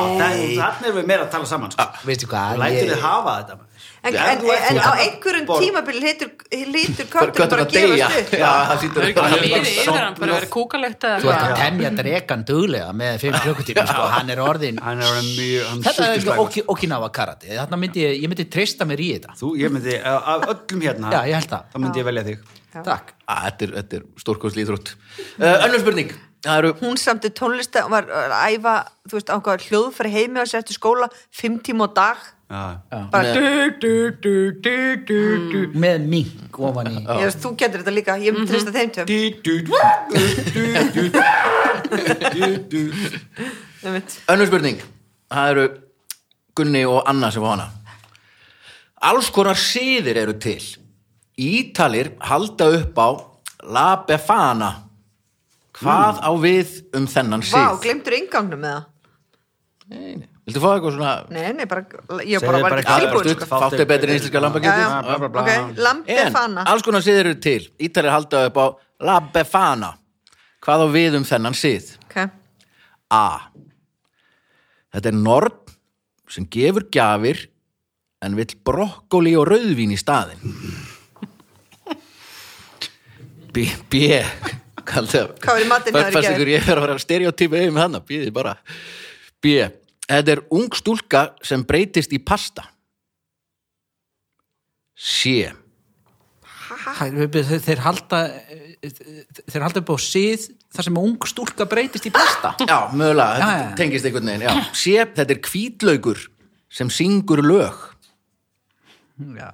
Speaker 2: Þannig erum við meira að tala saman sko.
Speaker 5: Ah,
Speaker 6: veistu hvað
Speaker 2: Lætur
Speaker 6: ég-
Speaker 2: þið hafa þetta maður.
Speaker 4: En,
Speaker 2: Já,
Speaker 4: en,
Speaker 2: þú ert-
Speaker 4: en
Speaker 2: þú
Speaker 4: á
Speaker 2: ert-
Speaker 4: einhverjum
Speaker 2: borð.
Speaker 4: tímabili lítur, lítur
Speaker 1: Bara
Speaker 4: köttur bara að
Speaker 1: deyja
Speaker 4: gefast upp
Speaker 1: Já, það
Speaker 3: Það
Speaker 1: hlýtur
Speaker 3: er ekki
Speaker 1: að-
Speaker 3: að liði yfir hann, bara verið kúkalegt eða
Speaker 6: Þú ert að
Speaker 3: eitthvað.
Speaker 6: temja dregan duglega með fimm klukkutíma, sko, hann er orðin
Speaker 2: Hann er orðinn mjög hann
Speaker 6: Þetta er
Speaker 2: sultuslagur.
Speaker 6: ekki okinawa karate, þarna myndi ég, ég myndi treysta mér í þetta.
Speaker 2: Þú, ég myndi, af af öllum hérna
Speaker 6: Já, ég held það.
Speaker 2: Þá myndi ég velja þig
Speaker 6: Takk.
Speaker 1: Á, Þetta er, þetta er stórkostli íþrótt uh, Önnur spurning Það eru
Speaker 4: Hún samti tónlista og var að æfa þú veist, ákvað hljóðfæri heimi á sér eftir skóla fimm tíma á dag
Speaker 2: Já,
Speaker 4: bara du, du, du, du, du, du.
Speaker 6: Með mink ofan í.
Speaker 4: Ég veist, þú getur þetta líka, ég myndi treysta þeim tjöm Einmitt.
Speaker 1: Önnur spurning Það eru Gunni og Anna sem fá hana Alls konar síðir eru til Ítalir halda upp á La Befana Hvað á við um þennan síð?
Speaker 4: Vá, glemtur inngangnum með það
Speaker 1: Nei, nei. Viltu fá eitthvað svona
Speaker 4: Nei, nei, bara, ég
Speaker 2: Segðu
Speaker 4: bara var
Speaker 2: bara
Speaker 4: ekki
Speaker 2: eitthvað
Speaker 4: tilbúin
Speaker 2: stutt.
Speaker 4: sko.
Speaker 2: Fátt
Speaker 1: Fátt er
Speaker 2: er
Speaker 1: betri en
Speaker 2: betri.
Speaker 1: íslenska
Speaker 4: Já, já,
Speaker 1: lambakjöti
Speaker 2: bla, bla, bla.
Speaker 4: ok,
Speaker 1: En
Speaker 4: lambefana
Speaker 1: alls konar síðir eru til Ítalir halda upp á La Befana Hvað á við um þennan síð?
Speaker 4: okay.
Speaker 1: A. Þetta er norn sem gefur gjafir en vill brokkoli og rauðvín í staðin. B. B. Kaldu,
Speaker 4: Hvað var í matinn hjá þér í
Speaker 1: Fast
Speaker 4: gær?
Speaker 1: ykkur ég er að vera stereotypi um þannig, býðið bara. B. Þetta er ung stúlka sem breytist í pasta. C.
Speaker 5: Þeir, þeir halda þeir halda upp á síð þar sem ung stúlka breytist í pasta
Speaker 1: Já, mögulega,
Speaker 5: Já,
Speaker 1: þetta
Speaker 5: já, já.
Speaker 1: tengist einhvern veginn. Já. C. Þetta er kvítlaugur sem syngur lög.
Speaker 5: Já.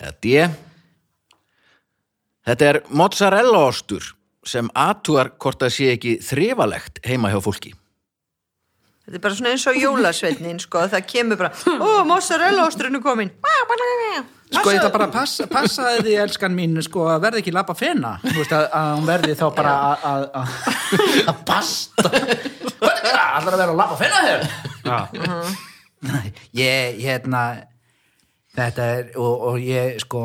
Speaker 1: eða D Þetta er mozzarella ostur sem atúar hvort það sé ekki þrifalegt heima hjá fólki
Speaker 4: Þetta er bara svona eins og jólasveitnin sko. það kemur bara, ó, mozzarella ástrinu komin
Speaker 5: Sko ég það bara passa, passaði því elskan mín sko að verði ekki lappa fena þú veist að, að hún verði þá bara að- að að- að pasta Hvernig er það? Allar að vera að lappa fena þér?
Speaker 2: já.
Speaker 5: Nei, ég, hérna þetta er, og, og ég sko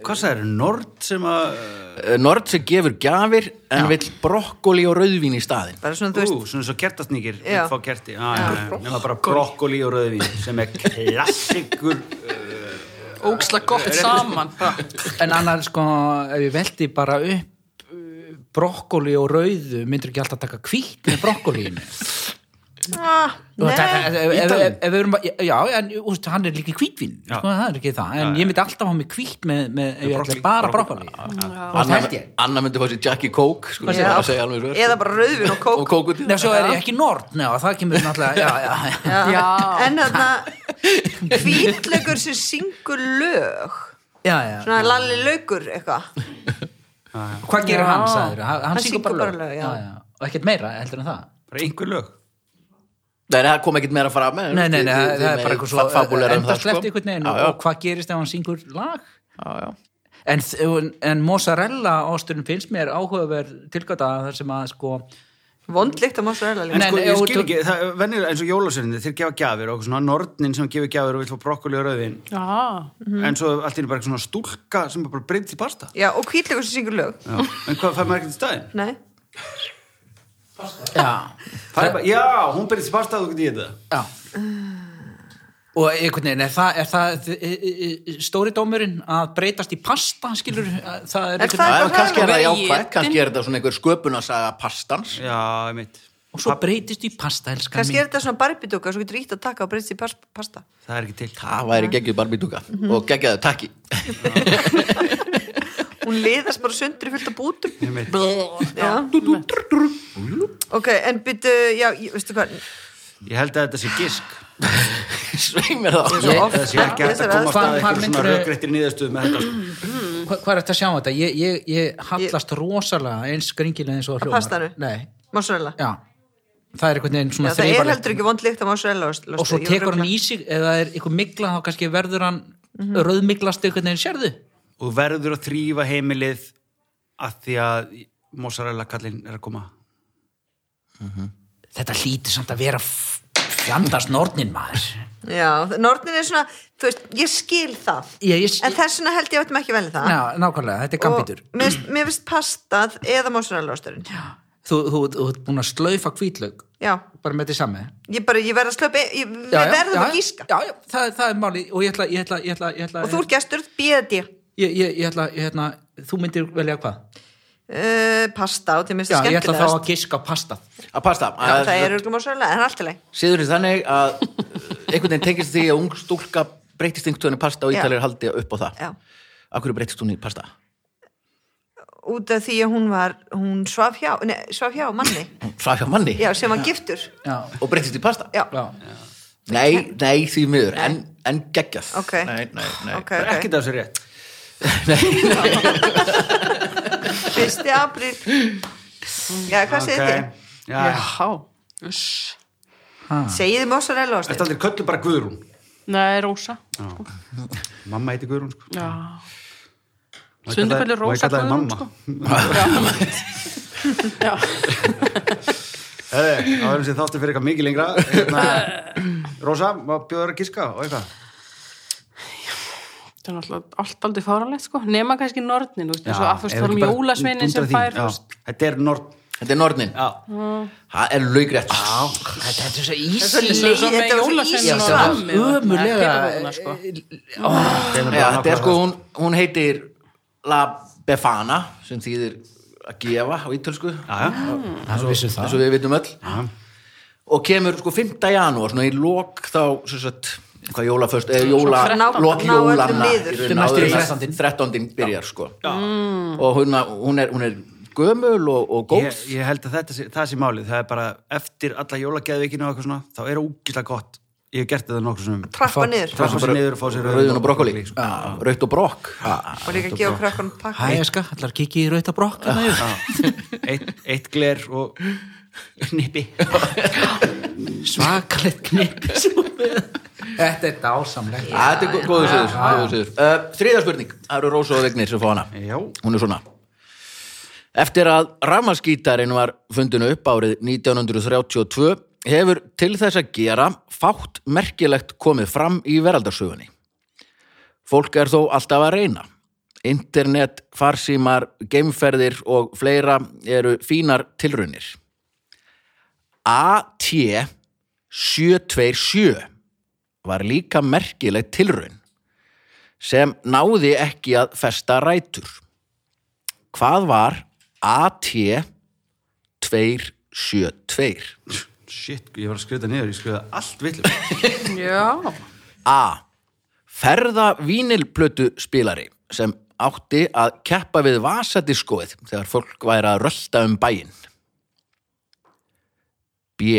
Speaker 2: Hvað sagði þér, Nord sem að
Speaker 1: Eh, Nord sem gefur gjafir en vill brokkoli og rauðvín í staðin
Speaker 4: bara svona,
Speaker 2: Ú,
Speaker 4: þú veist,
Speaker 2: svona svo kertasnýkir
Speaker 4: Já.
Speaker 2: Fá kerti, já, já, já Nefna bara brokkoli og rauðvín sem er eh, klassikur
Speaker 3: Óksla gott saman. bara.
Speaker 5: eh, en annar sko, ef ég veldi bara upp uh, brokkoli og rauðu myndir ekki alltaf taka kvítt með brokkolíinu
Speaker 4: ah,
Speaker 6: Þú veist,
Speaker 4: nei
Speaker 6: þetta- ef- ef- ef- ef við erum bara- Já, en úst, hann er líka í kvítvín
Speaker 2: Já.
Speaker 6: sko, það er ekki það, en ég myndi alltaf hafa mig kvít með, með ef ég ætla
Speaker 2: brokkoli.
Speaker 6: bara
Speaker 2: Brokkoli.
Speaker 6: brokkoli það held ég
Speaker 1: Anna myndi fá sér Jackie Coke skulum við
Speaker 4: Já.
Speaker 1: bara segja alveg svo er.
Speaker 4: eða bara rauðvin og
Speaker 1: og
Speaker 4: kók
Speaker 1: kók út í
Speaker 6: Nei, svo er ég ekki nort, neða, það kemur náttúrulega, já, já,
Speaker 4: Já.
Speaker 3: Já.
Speaker 4: en (laughs) þarna hvítlaugur sem syngur lög
Speaker 6: já, já.
Speaker 4: svona lalli laukur eitthvað
Speaker 6: Hvað gerir
Speaker 3: Já.
Speaker 6: hann, sagður? Hann, hann
Speaker 4: syngur
Speaker 6: syngur bara
Speaker 4: bara
Speaker 6: lög.
Speaker 4: lög, já.
Speaker 6: Og ekkert meira, heldur en það.
Speaker 2: Bara einhver lög
Speaker 1: Nei, nei, það kom ekkert meira fram eh, með
Speaker 6: Nei, nei, nei, það það er bara eitthvað svo
Speaker 1: fabulera um það
Speaker 6: endast
Speaker 1: sko
Speaker 6: lefti einhvern veginn
Speaker 1: Já,
Speaker 6: og,
Speaker 1: já,
Speaker 6: og hvað gerist ef hann syngur lag?
Speaker 1: já, já.
Speaker 6: En, þ- en mozzarella ásturinn finnst mér áhugaverð tilgata þar sem að sko,
Speaker 4: vondlikt á mozzarella
Speaker 2: En
Speaker 4: líka
Speaker 6: Nei,
Speaker 2: sko,
Speaker 6: nei,
Speaker 2: ég
Speaker 6: ef
Speaker 2: skil
Speaker 6: þú-
Speaker 2: ekki, það er venjulega eins og jólasörinni, þeir gefa gjafir og eitthvað svona nornin sem gefur gjafir og vil fá brokkoli og rauðin
Speaker 3: Já.
Speaker 2: en svo allt í einu bara eitthvað svona stúlka sem bara breytið í pasta
Speaker 4: já, og hvítlaugur sem syngur lög
Speaker 2: Já. En hvað fær maður ekkert í staðinn?
Speaker 4: nei,
Speaker 6: já,
Speaker 2: Fær bara, já, hún breytið í pasta þú getur í þetta
Speaker 6: já. Og einhvern veginn, er það, er það e, e, e, stóri dómurinn að breytast í pasta, skilur? Það er
Speaker 4: Er
Speaker 6: einhvern
Speaker 4: það-
Speaker 1: Já, en kannski er það
Speaker 3: Bara
Speaker 1: jákvæð,
Speaker 3: étin.
Speaker 1: kannski er þetta svona einhver sköpunarsaga pastans
Speaker 2: Já, ég mitt
Speaker 6: og svo breytist í pasta, elskan
Speaker 4: kannski
Speaker 6: mín.
Speaker 4: er þetta svona barbidúka svo getur ítt að taka og breyst í pas- pasta
Speaker 2: Það er ekki til
Speaker 1: Það væri geggjuð barbítúka Mhm. og geggjaðu (laughs) takki
Speaker 4: hún liðast bara sundri fullt af bútum
Speaker 2: Ég mitt
Speaker 4: já. ok, en byttu já, ég- veistu hvað
Speaker 2: Ég held að þetta sé gisk
Speaker 1: Sveimir það
Speaker 4: Svo oft
Speaker 2: Það sé ekki hægt
Speaker 4: þessar
Speaker 2: að komast
Speaker 6: Hvar-
Speaker 2: að
Speaker 6: hvar
Speaker 2: eitthvað svona
Speaker 6: myndirðu-
Speaker 2: rökréttir nýðastuð með þetta sko.
Speaker 6: Hva, hvað er þetta að sjá um þetta? Ég, ég, ég hallast rosalega eins skringilega eins og það hljómar.
Speaker 4: pastanum?
Speaker 6: Nei,
Speaker 4: mozzarella
Speaker 6: já. Það er einhvern veginn
Speaker 4: Já,
Speaker 6: svona
Speaker 4: það er
Speaker 6: þrifalegt.
Speaker 4: heldur ekki vond lykt af mozzarella ost-
Speaker 6: Og svo
Speaker 4: osti, ég var
Speaker 6: tekur hann
Speaker 4: rugluð.
Speaker 6: í sig, ef það er einhver mikla þá kannski verður hann
Speaker 4: Mhm.
Speaker 6: mm -hmm. rauðmiklast einhvern veginn, sérðu?
Speaker 2: Og verður að þrýfa heimilið að því að mozzarella kallinn er að koma
Speaker 6: Þetta hlýtir samt að vera f- fjandars nornin maður.
Speaker 4: Já, nornin er svona, þú veist, ég skil það
Speaker 6: Ég, ég,
Speaker 4: en þess vegna held ég að við ættum ekki velja það
Speaker 6: Já, nákvæmlega, þetta er
Speaker 4: og
Speaker 6: gambítur.
Speaker 4: mér finnst- mér finnst pastað eða mozzarella ásturinn
Speaker 6: þú, þú, þú, ert búin að slaufa hvítlaug
Speaker 4: já,
Speaker 6: bara með þetta sami
Speaker 4: ég bara, ég verð að slöpa ég, við verðum að gíska
Speaker 6: já, já, það, er- það er máli og ég ætla, ég ætla, ég ætla, ég ætla
Speaker 4: og þú er gestur, bíði
Speaker 6: ég, ég, ég ætla, ég ætla, þú myndir velja hvað
Speaker 4: uh, pasta og til minnst
Speaker 6: já, ég ætla þá
Speaker 4: skemmtilegast
Speaker 6: að giska á pasta
Speaker 1: að pasta
Speaker 4: Já, það er örgum og sérlega, en allt í leið
Speaker 1: síður þannig
Speaker 4: (laughs)
Speaker 1: að eh, einhvern veginn tengist því að ung stúlka breytist einhvern veginn í pasta og
Speaker 4: Já.
Speaker 1: ítalir haldi upp á það
Speaker 4: Já.
Speaker 1: Akkur breytist hún í pasta?
Speaker 4: út af því að hún var, hún svaf hjá nei, svaf hjá manni,
Speaker 1: Hún svaf hjá manni
Speaker 4: já, sem var giftur
Speaker 6: já,
Speaker 1: og breytist í pasta?
Speaker 4: já,
Speaker 6: já,
Speaker 1: Nei, nei, því miður, en, en geggjað
Speaker 4: Ok.
Speaker 1: Nei, nei, nei
Speaker 4: ok,
Speaker 2: Það er
Speaker 4: ok,
Speaker 2: ekkert af þessu rétt.
Speaker 4: fyrsti apríl já, hvað segir þið?
Speaker 2: Já,
Speaker 3: Já, uss.
Speaker 4: segið þið mozzarella
Speaker 2: þetta
Speaker 4: ástin
Speaker 2: aldrei köllu bara Guðrún.
Speaker 3: Nei, rósa.
Speaker 2: Mamma heiti Guðrún, sko.
Speaker 3: Já.
Speaker 2: Má ég
Speaker 3: Stundum
Speaker 2: kalla-
Speaker 3: kallar
Speaker 2: má ég
Speaker 3: Rósa
Speaker 2: kalla þig
Speaker 3: Guðrún,
Speaker 2: mamma?
Speaker 3: sko. Já.
Speaker 2: Herri, Það verðum sér þáttu fyrir eitthvað mikið lengra. Hérna,
Speaker 3: (laughs)
Speaker 2: Rósa, má bjóður að giska og eitthvað?
Speaker 3: Það er náttúrulega allt aldrei fáralegt, sko. Nema kannski nornin, þú veist, eins og að fyrst
Speaker 2: ef
Speaker 3: tala um
Speaker 2: ekki bara
Speaker 3: jólasveinin
Speaker 2: dundra
Speaker 3: sem
Speaker 2: því.
Speaker 3: fær,
Speaker 2: Já,
Speaker 3: þú veist.
Speaker 2: Þetta er norð.
Speaker 1: Þetta er nornin,
Speaker 2: Já.
Speaker 1: það er laugrætt
Speaker 6: þetta þetta er
Speaker 3: Svo
Speaker 6: svo ísli
Speaker 3: eins og
Speaker 4: Þetta
Speaker 3: með
Speaker 4: var svo
Speaker 3: jólasveinin og
Speaker 4: ísalt.
Speaker 3: rammi og þarna,
Speaker 6: ömurlega
Speaker 3: pyrrhóðuna, sko.
Speaker 1: Já, þetta er sko, hún, hún heitir La Befana sem þýðir að gefa á ítölsku
Speaker 2: Já, já.
Speaker 6: það vissu
Speaker 2: Ah.
Speaker 1: eins
Speaker 6: það
Speaker 1: og við vitum öll og kemur sko 5. janúar svona í lok þá sem sagt, hvað jólaföst eða jóla,
Speaker 4: Svo þrettán-
Speaker 1: lok
Speaker 4: ná öllum
Speaker 1: jólanna
Speaker 4: niður.
Speaker 1: í raun
Speaker 6: Þetta er næstu
Speaker 1: áður
Speaker 6: í
Speaker 1: en að
Speaker 6: 13.
Speaker 1: 13. byrjar sko og hún, hún, er, hún er gömul og, og góð
Speaker 2: Ég, ég held að þetta sé, það sé málið, það er bara eftir alla jólageðvikinu og eitthvað svona, þá er ógíslega gott. Ég hef gert þetta nokkur sem
Speaker 4: trappa niður
Speaker 2: trappa sér niður og fá sér
Speaker 1: rauðun og brokkoli,
Speaker 2: sko.
Speaker 1: rauðt og brokk Já.
Speaker 4: og líka gefa krakkanum pakka
Speaker 6: hæ, eska, ætlar að kikið í rauta brokk hérna yfir?
Speaker 2: eitt, eitt gler og knipi
Speaker 6: svakalegt (laughs) knip þetta er dásamlegt
Speaker 1: Já, Þetta er gó- góður siður, góður siður. Uh, Þriðja spurning, það eru Rósa og Vignir sem fá hana
Speaker 2: Já.
Speaker 1: Hún er svona Eftir að rafmaskítarinn var fundinu upp árið 1932 hefur til þess að gera fátt merkilegt komið fram í veraldarsögunni. Fólk er þó alltaf að reyna. Internet, farsímar, geimferðir og fleira eru fínar tilraunir. AT 727 var líka merkileg tilraun sem náði ekki að festa rætur. Hvað var AT 272?
Speaker 2: shit, ég var að skrifa þetta niður, ég skrifa allt villum
Speaker 3: sko. Já.
Speaker 1: A. Ferða vínilplötu spilari sem átti að keppa við vasadiskoið þegar fólk væri að rölda um bæinn. B.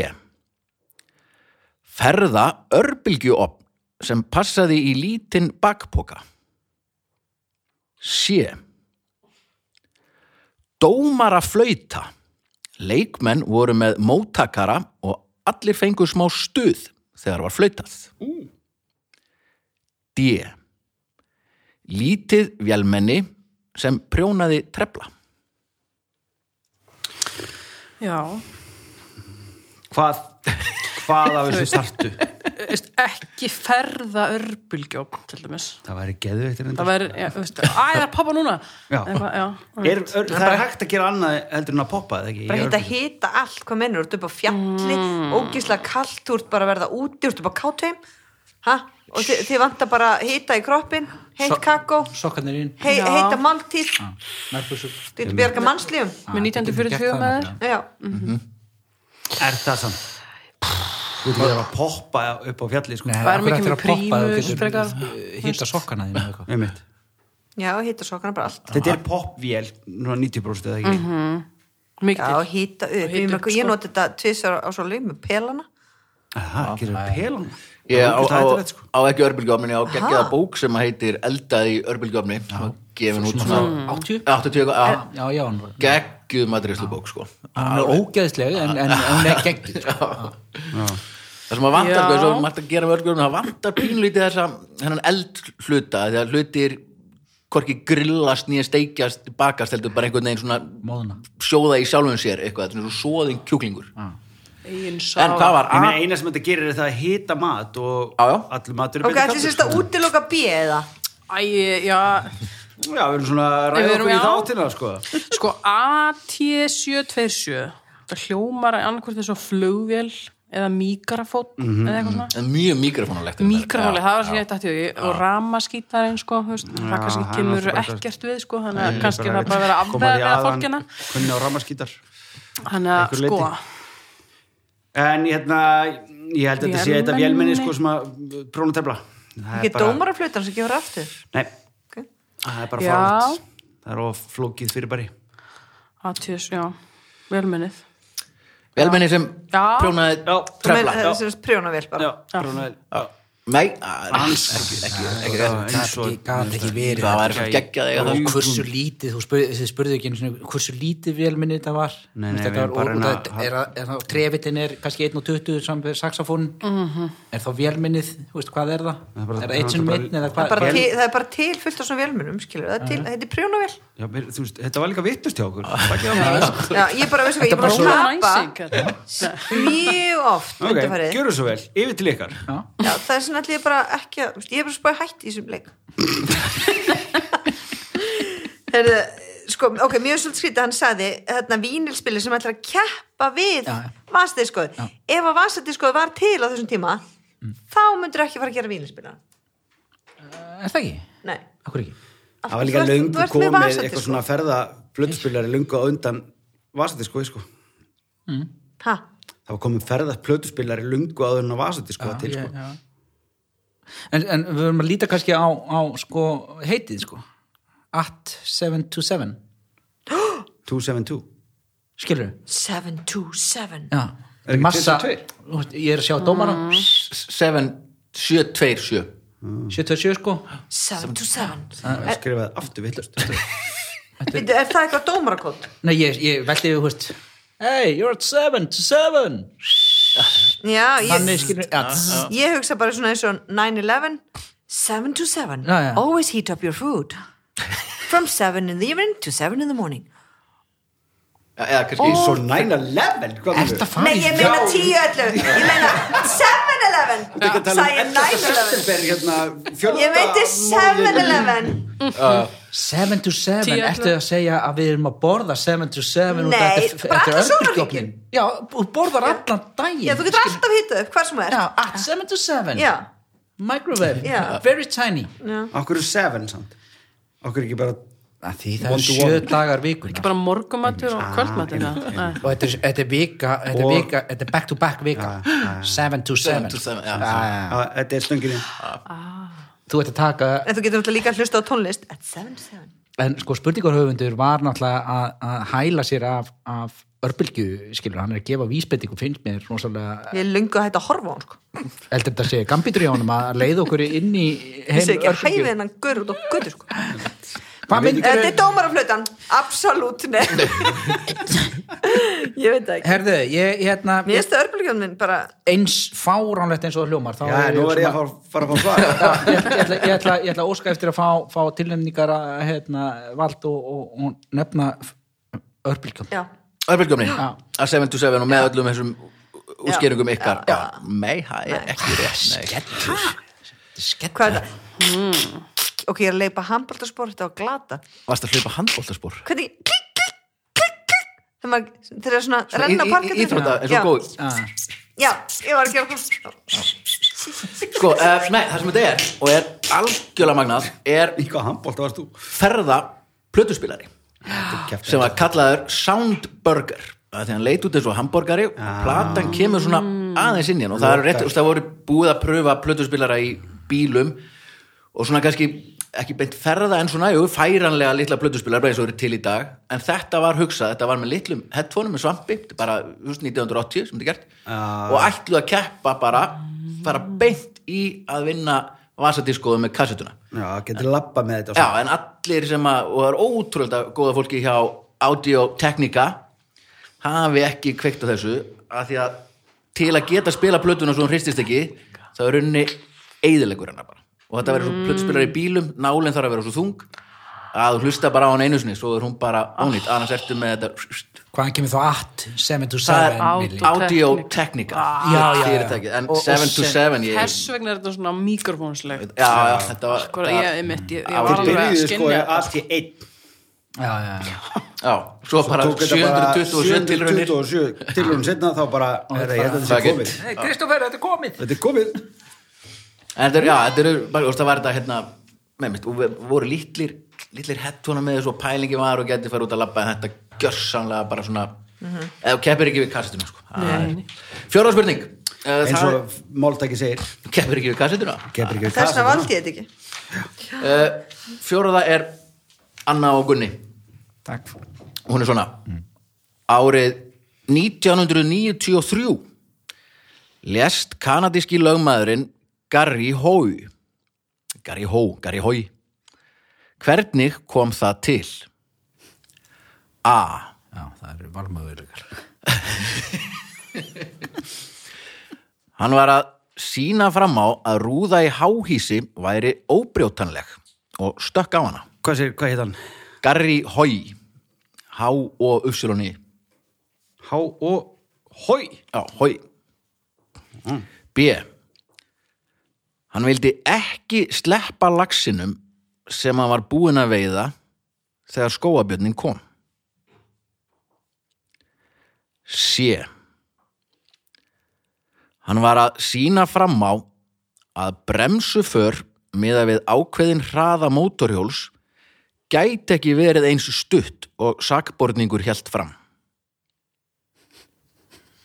Speaker 1: Ferða örbylgjuopn sem passaði í lítinn bakpoka. C. Dómara flauta. Leikmenn voru með móttakara og allir fengu smá stuð þegar var flautað. D. Lítið vélmenni sem prjónaði trefla.
Speaker 3: Já.
Speaker 2: hvað, hvað af þessu startu
Speaker 3: Þú veist, Ekki ferða örbulgjókn, til dæmis.
Speaker 2: það væri geðveikt
Speaker 3: Það væri, já, þú veist, æ, það er pappa núna.
Speaker 2: Já.
Speaker 3: Eitthvað, já.
Speaker 2: er, ör, það er hægt að gera annað heldur en að poppa það ekki
Speaker 4: bara
Speaker 2: Í
Speaker 4: hitta að
Speaker 2: örbylgju.
Speaker 4: hita allt, hvað mennur, þú ert upp á fjalli ógíslega kallt, þú ert bara að verða úti þú ert upp á kátum ha? og þið, þið vantar bara hita í kroppin heitt kakó,
Speaker 6: sokkarnir inn,
Speaker 4: hei,
Speaker 3: Já.
Speaker 4: heita máltíð
Speaker 6: nærbúsur
Speaker 4: þú ert bjarga mannslífum
Speaker 3: Með 1944 með þér.
Speaker 4: já, Mm.
Speaker 2: er það samt þú veit að poppa upp á fjalli sko.
Speaker 3: Það er mikið með prímus, frekar,
Speaker 6: hitta sokkana þín
Speaker 2: Einmitt.
Speaker 4: já, hita sokkana bara allt
Speaker 2: þetta er popvél núna 90% eða ekki
Speaker 4: Mhm.
Speaker 3: Mikið
Speaker 4: já,
Speaker 3: til.
Speaker 4: hita
Speaker 3: hita
Speaker 4: upp,
Speaker 3: upp,
Speaker 4: ég, upp, ég
Speaker 3: sko.
Speaker 4: noti þetta tvisar á svo leið með pelana
Speaker 2: Aha, gerir pelan
Speaker 1: Ég á, á,
Speaker 2: þetta er þetta sko
Speaker 1: á ekki örbylgjófninni, á geggjaða bók sem að heitir Eldaði örbylgjófni. Gefin út svona
Speaker 6: 80
Speaker 1: 80 að
Speaker 6: já, já, hún var-
Speaker 1: geggjuð matriðslu bók sko.
Speaker 6: hún er ógeðsleg en, en, en hún er gegn
Speaker 5: sko.
Speaker 1: Það sem að vantar,
Speaker 3: Já.
Speaker 1: sko, þess að margt að gera með örbylgjófni, það vantar pínlítið þessa hennan eldhluta, þegar hlutir hvorki grillast, nýja steikjast, bakast, heldur bara einhvern veginn svona
Speaker 6: móðuna
Speaker 1: sjóða í sjálfum sér eitthvað, þetta er svo svoðin kjúklingur.
Speaker 3: Egin sá.
Speaker 1: En hvað var
Speaker 2: Ég
Speaker 1: A?
Speaker 2: meina, eina sem þetta gerir er það að hita mat og
Speaker 1: Já, já.
Speaker 2: allur matur er betur sko.
Speaker 4: ok, þetta
Speaker 2: kaldur,
Speaker 4: sést að útiloka bíða eða
Speaker 3: Æ, já,
Speaker 2: Já, við erum svona að
Speaker 3: Við
Speaker 2: ræða
Speaker 3: erum-
Speaker 2: okkur í
Speaker 3: já.
Speaker 2: þáttina, sko.
Speaker 3: Sko AT727 það hljómar annarkvort þess að flugvél eða mígrafót
Speaker 2: Mhm.
Speaker 3: eða eitthvað svona
Speaker 1: En mjög mikrofónulegt
Speaker 3: Mígrafóli, það var sem ég dætti og, ég- og ramaskítarinn sko, þú veist, það kannski
Speaker 2: hann
Speaker 3: kemur
Speaker 2: náttúrulega bara-
Speaker 3: ekkert við sko, þannig að kannski það bara vera
Speaker 2: Koma því
Speaker 3: afveða við
Speaker 2: að hann
Speaker 3: fólkina
Speaker 2: Kunni á rammaskítar.
Speaker 3: þannig að
Speaker 2: einhverju
Speaker 3: sko
Speaker 2: leyti. En hérna, ég held að þetta sé þetta
Speaker 3: Vélmenni.
Speaker 2: vélmenni, sko, sem að prónutefla. Það
Speaker 4: Ekki dómaraflutan sem gefur aftur.
Speaker 2: Nei,
Speaker 4: Okay.
Speaker 2: það er bara
Speaker 3: Já.
Speaker 2: frátt. Það er of flókið fyrirbæri.
Speaker 3: AT7, já, velmennið
Speaker 1: Velmenni sem
Speaker 3: Já.
Speaker 1: prjónaði
Speaker 2: Já,
Speaker 4: Trefla.
Speaker 2: trefla.
Speaker 4: Það er sem sagt
Speaker 2: Já,
Speaker 4: prjónavél bara.
Speaker 2: prónuvel.
Speaker 1: Nei, að-
Speaker 2: Hans.
Speaker 1: ekki, ekki,
Speaker 2: Já,
Speaker 1: ekki
Speaker 2: eins og-
Speaker 5: gat ekki verið
Speaker 1: Það væri svo geggjað að eiga það.
Speaker 5: og hversu lítið, þú spurði, þið spurðu ekki einu sinni hversu lítið vélminni þetta var
Speaker 2: Nei,
Speaker 5: Þú veist,
Speaker 2: nei,
Speaker 5: þetta
Speaker 2: við
Speaker 5: var,
Speaker 2: bara
Speaker 5: og,
Speaker 2: reyna
Speaker 5: og það
Speaker 2: að-
Speaker 5: er, að- er, er trefittin er kannski 1.20 samt við saxofón er þá vélminnið, þú veist, hvað er það?
Speaker 2: Það er bara-
Speaker 5: er það 1
Speaker 2: það
Speaker 5: sem
Speaker 2: er bara-
Speaker 5: minn eða
Speaker 4: Það er
Speaker 5: hvað?
Speaker 4: bara
Speaker 5: Vél-
Speaker 4: til- það er bara til fullt af svona vélmunum, skilur. Það er til, þetta er prjónavél.
Speaker 2: Já, mér- þú veist, þetta var líka vittust hjá okkur. Takk ég á það.
Speaker 3: (laughs)
Speaker 4: Já, ég bara, veistu hvað, ég er bara að
Speaker 3: Rómanæsing
Speaker 4: tapa
Speaker 3: þetta. Nei.
Speaker 4: mjög oft
Speaker 2: Ok,
Speaker 4: undanfarið.
Speaker 2: gjöru svo vel, yfir til ykkar
Speaker 4: Já, það er svona allir ég bara ekki að, ég er bara spara hætt í
Speaker 2: (laughs)
Speaker 4: þessum leik Herðu, sko, ok, mjög svolítið skrítið hann sagði, þarna vínilspili sem ætlar að keppa við
Speaker 5: Já, já.
Speaker 4: vasadískoð, ef að vasadískoð var til á þessum tíma,
Speaker 2: Mm.
Speaker 4: þá myndur ekki fara að gera vínilspila,
Speaker 5: Er það ekki?
Speaker 4: nei
Speaker 5: Akkur ekki?
Speaker 4: Af-
Speaker 2: Það var líka
Speaker 4: þú ert- þú
Speaker 2: löngu
Speaker 4: ert með
Speaker 2: komið
Speaker 4: vasadískó.
Speaker 2: eitthvað
Speaker 3: sko?
Speaker 2: svona ferða plötuspilari löngu á undan vasadiskói sko
Speaker 4: ha,
Speaker 2: Það var komið ferða plötuspilari löngu á undan vasadiskói til sko
Speaker 5: Ég- já. En, en við verðum að líta kannski á, á sko, heitið sko at 727
Speaker 2: 272
Speaker 5: skilur
Speaker 4: 727
Speaker 5: já
Speaker 2: Er ekki
Speaker 5: massa,
Speaker 2: 22?
Speaker 5: þú veist, ég er að sjá dómara
Speaker 4: Mm.
Speaker 1: 7727
Speaker 5: 77 sko
Speaker 4: 727
Speaker 2: Það skrifaði aftur villust
Speaker 4: Bíddu, er það eitthvað dómarakótt?
Speaker 5: nei, ég, ég veldi við, húst hey, you're at 727
Speaker 4: Já,
Speaker 5: hann
Speaker 4: ég,
Speaker 5: er skilur já, tss.
Speaker 4: ég hugsa bara svona eins og 9-11 727
Speaker 5: Já, já.
Speaker 4: always heat up your food from 7 in the evening to 7 in the morning
Speaker 1: Eða kannski
Speaker 2: Svo
Speaker 1: svo
Speaker 2: 9-11 hvað
Speaker 5: Ertu
Speaker 2: er
Speaker 5: að
Speaker 2: það?
Speaker 5: fara
Speaker 4: nei
Speaker 5: í-
Speaker 4: ég meina 10-11 ég meina 7-11
Speaker 2: um
Speaker 4: sagði 9-11
Speaker 2: september hérna fjölda
Speaker 4: ég veit þið 7-11
Speaker 5: 727,
Speaker 3: Tíu,
Speaker 5: ertu að segja að við erum að borða 727
Speaker 4: Nei, bara allan
Speaker 5: örbylgjuofninn?
Speaker 4: sólarhringinn.
Speaker 5: Já, þú borðar allan daginn
Speaker 4: já þú getur alltaf hitað upp hvar sem er
Speaker 5: Já, at 727
Speaker 4: já,
Speaker 5: Microwave,
Speaker 4: Já.
Speaker 5: very tiny
Speaker 2: Okkur er 7 samt Okkur ekki bara
Speaker 5: að Því það
Speaker 2: One
Speaker 5: er
Speaker 2: to
Speaker 5: sjö
Speaker 2: one.
Speaker 5: dagar vikuna
Speaker 3: bara morgumatur og kvöldmatur eða? Nei.
Speaker 5: og þetta er, þetta er vika þetta er
Speaker 2: Og-
Speaker 5: vika, þetta er back to back vika 727
Speaker 1: 727, já.
Speaker 2: að Þetta er stönginni
Speaker 5: Þú ert að taka
Speaker 4: en þú getur náttúrulega líka að hlusta á tónlist at 7-7
Speaker 5: en sko spurningarhöfundur var náttúrulega að- að hæla sér af, af örbylgju, skilur, hann er að gefa vísbendingu finnst mér rosalega
Speaker 4: ég er lungu að hætta að horfa á hann sko
Speaker 5: heldur þetta að segja gambitur í honum að leiða okkur inn í
Speaker 4: ég sé ekki að hæfi
Speaker 5: örbylgju.
Speaker 4: hennan gaur út á götu sko
Speaker 5: Hvað
Speaker 4: þetta
Speaker 5: myndir
Speaker 4: er dómaraflautan absolutt nei ég veit það ekki
Speaker 5: Herðu, ég hérna
Speaker 4: Mér finnst það örbulgjóðum minn bara
Speaker 5: eins fáránlegt eins og það hljómar þá
Speaker 2: Já,
Speaker 5: er
Speaker 2: nú er ég
Speaker 5: svona-
Speaker 2: að fara- fara að fá svara
Speaker 5: ég, ætla, ég, ætla, ég, ætla, ég ætla að óska eftir að fá, fá tilnefningar að hérna, vald og, og, og nefna örbylgjum
Speaker 4: Já,
Speaker 1: Örbjörgumni,
Speaker 5: Já.
Speaker 1: að 77 og með öllum þessum útskýringum ykkar
Speaker 4: Já.
Speaker 1: bara, Nei, það er ekki rétt nei.
Speaker 4: hvað er það? Ok, ég er að leipa handbóltaspor Þetta var glata
Speaker 1: Varst að hlaupa handbóltaspor
Speaker 4: Hvernig klik, klik, klik, klik Þegar maður, þeir eru svona
Speaker 1: Svona í-
Speaker 4: renna á
Speaker 1: í-
Speaker 4: parkettinu.
Speaker 1: Íþrótta, eins
Speaker 4: Já,
Speaker 1: og góð
Speaker 5: Ah,
Speaker 4: Já, ég var að gera okkur
Speaker 1: Sko, uh, nei, það sem þetta er og er algjörlega magnað er
Speaker 2: Í hvað handbólt varst þú?
Speaker 1: ferða plötuspilari sem var kallaður Soundburger að því hann leit út eins og hamburgari og platan kemur svona aðeins inn í hann og það, er rétt, það voru búið að pröfa plötuspilara í bílum og svona kannski ekki beint ferða en svona, jú, færanlega litla plötuspilar bara eins og eru til í dag en þetta var hugsað, þetta var með litlum headphoneum með svampi, þetta er bara þú veist, 1980 sem þetta er gert
Speaker 2: Já.
Speaker 1: og ætluðu að keppa bara fara beint í að vinna vasadískoðu með kassetuna
Speaker 2: Já, getur labba með þetta og
Speaker 1: Já, en allir sem að, og það er ótrúlega góða fólki hjá Audio Technica hafi ekki kveikt á þessu af því að til að geta spila plötuna svo hún hristist ekki þá
Speaker 5: Mm.
Speaker 1: er runni eðilegur hennar bara og þetta verður svo plötuspilar í bílum, nálinn þarf að vera svo þung að þú hlusta bara á hann einu sinni svo er hún bara ónýtt, annars ertu með þetta
Speaker 5: Hvaðan kemur þá att, 7 to
Speaker 1: það er
Speaker 5: 7
Speaker 3: Audio-Technica.
Speaker 1: Audio Technica
Speaker 5: Ah. Já, já, já.
Speaker 1: fyrirtækið, en
Speaker 5: Og- og
Speaker 1: 7 to
Speaker 5: sem-
Speaker 1: 7 ég,
Speaker 3: Þess vegna er þetta svona mikrofónslegt.
Speaker 1: já, já, þetta var
Speaker 3: Sko, ég, ég, mitt, ég, ég
Speaker 1: Þeir
Speaker 3: var
Speaker 2: Þeir
Speaker 3: alveg að
Speaker 2: byrjuðu sko
Speaker 3: skinja
Speaker 2: allt í einn
Speaker 5: Já, já, já.
Speaker 1: já, svo bara
Speaker 2: Tók þetta bara
Speaker 1: 727 tilraunir
Speaker 2: 727 tilraunir setna þá bara, herra, ég held að þetta
Speaker 1: Fuck
Speaker 2: sé
Speaker 1: it.
Speaker 2: komið
Speaker 5: Hey, Kristoffer, þetta er komið.
Speaker 2: Þetta er komið
Speaker 1: En þetta er, já, þetta eru, bara, þú veist, það var þetta hérna, með mitt, og við voru lítlir, lítlir hettuna með þessu og pælingi var og gæti fara út að labba en þetta gjörsamlega bara svona, eða þú keppir ekki við kassetuna, sko.
Speaker 3: Mhm. Nei, nei.
Speaker 1: Fjóra spurning, Eh,
Speaker 2: eins
Speaker 1: það
Speaker 2: og Máltæki segir
Speaker 1: keppir ekki við kassetuna.
Speaker 2: kemur ekki við
Speaker 4: Þess vegna
Speaker 2: kassetuna.
Speaker 4: valdi ég þetta ekki
Speaker 1: Uh, fjóraða er Anna og Gunni,
Speaker 5: Takk.
Speaker 1: og hún er svona, árið 1993 lest kanadíski lögmaðurinn Gary Hoy, Gary Ho, Gary Hoy, Hvernig kom það til? A.
Speaker 5: Já, það eru valmöðulegar.
Speaker 1: Hann var að sína fram á að rúða í háhísi væri óbrjótanleg og stökk á hana.
Speaker 2: Hvað, sér, hvað heit hann?
Speaker 1: Garri Hói. H-O-Y.
Speaker 2: Há og Hói
Speaker 1: Já, Hói. Mm. B. Hann vildi ekki sleppa laxinum sem hann var búinn að veiða þegar skóabjörnin kom. C. Hann var að sína fram á að bremsuför miða við ákveðin hraða mótorhjóls gæti ekki verið eins stutt og sakborningur hjælt fram.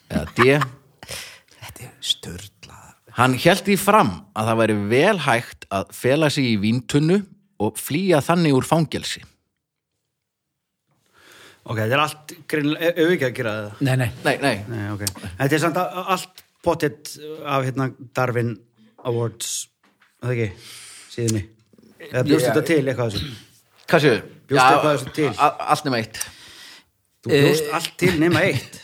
Speaker 1: Eða D.
Speaker 5: Þetta er störtlað.
Speaker 1: Hann held því fram að það væri vel hægt að fela sig í víntunnu og flýja þannig úr fangelsi.
Speaker 2: Ok, þetta er allt greinlega, ef ekki að gera það
Speaker 5: Nei, nei.
Speaker 1: Nei, nei.
Speaker 2: Nei, ok Þetta er samt a- allt pottet af hérna Darwin Awards Það ekki, síðunni Eða bjóst þetta til eitthvað þessu
Speaker 1: Hvað séu?
Speaker 2: Bjóstu eitthvað þessu til?
Speaker 1: Allt nema eitt.
Speaker 2: Þú bjóst allt til nema (laughs) eitt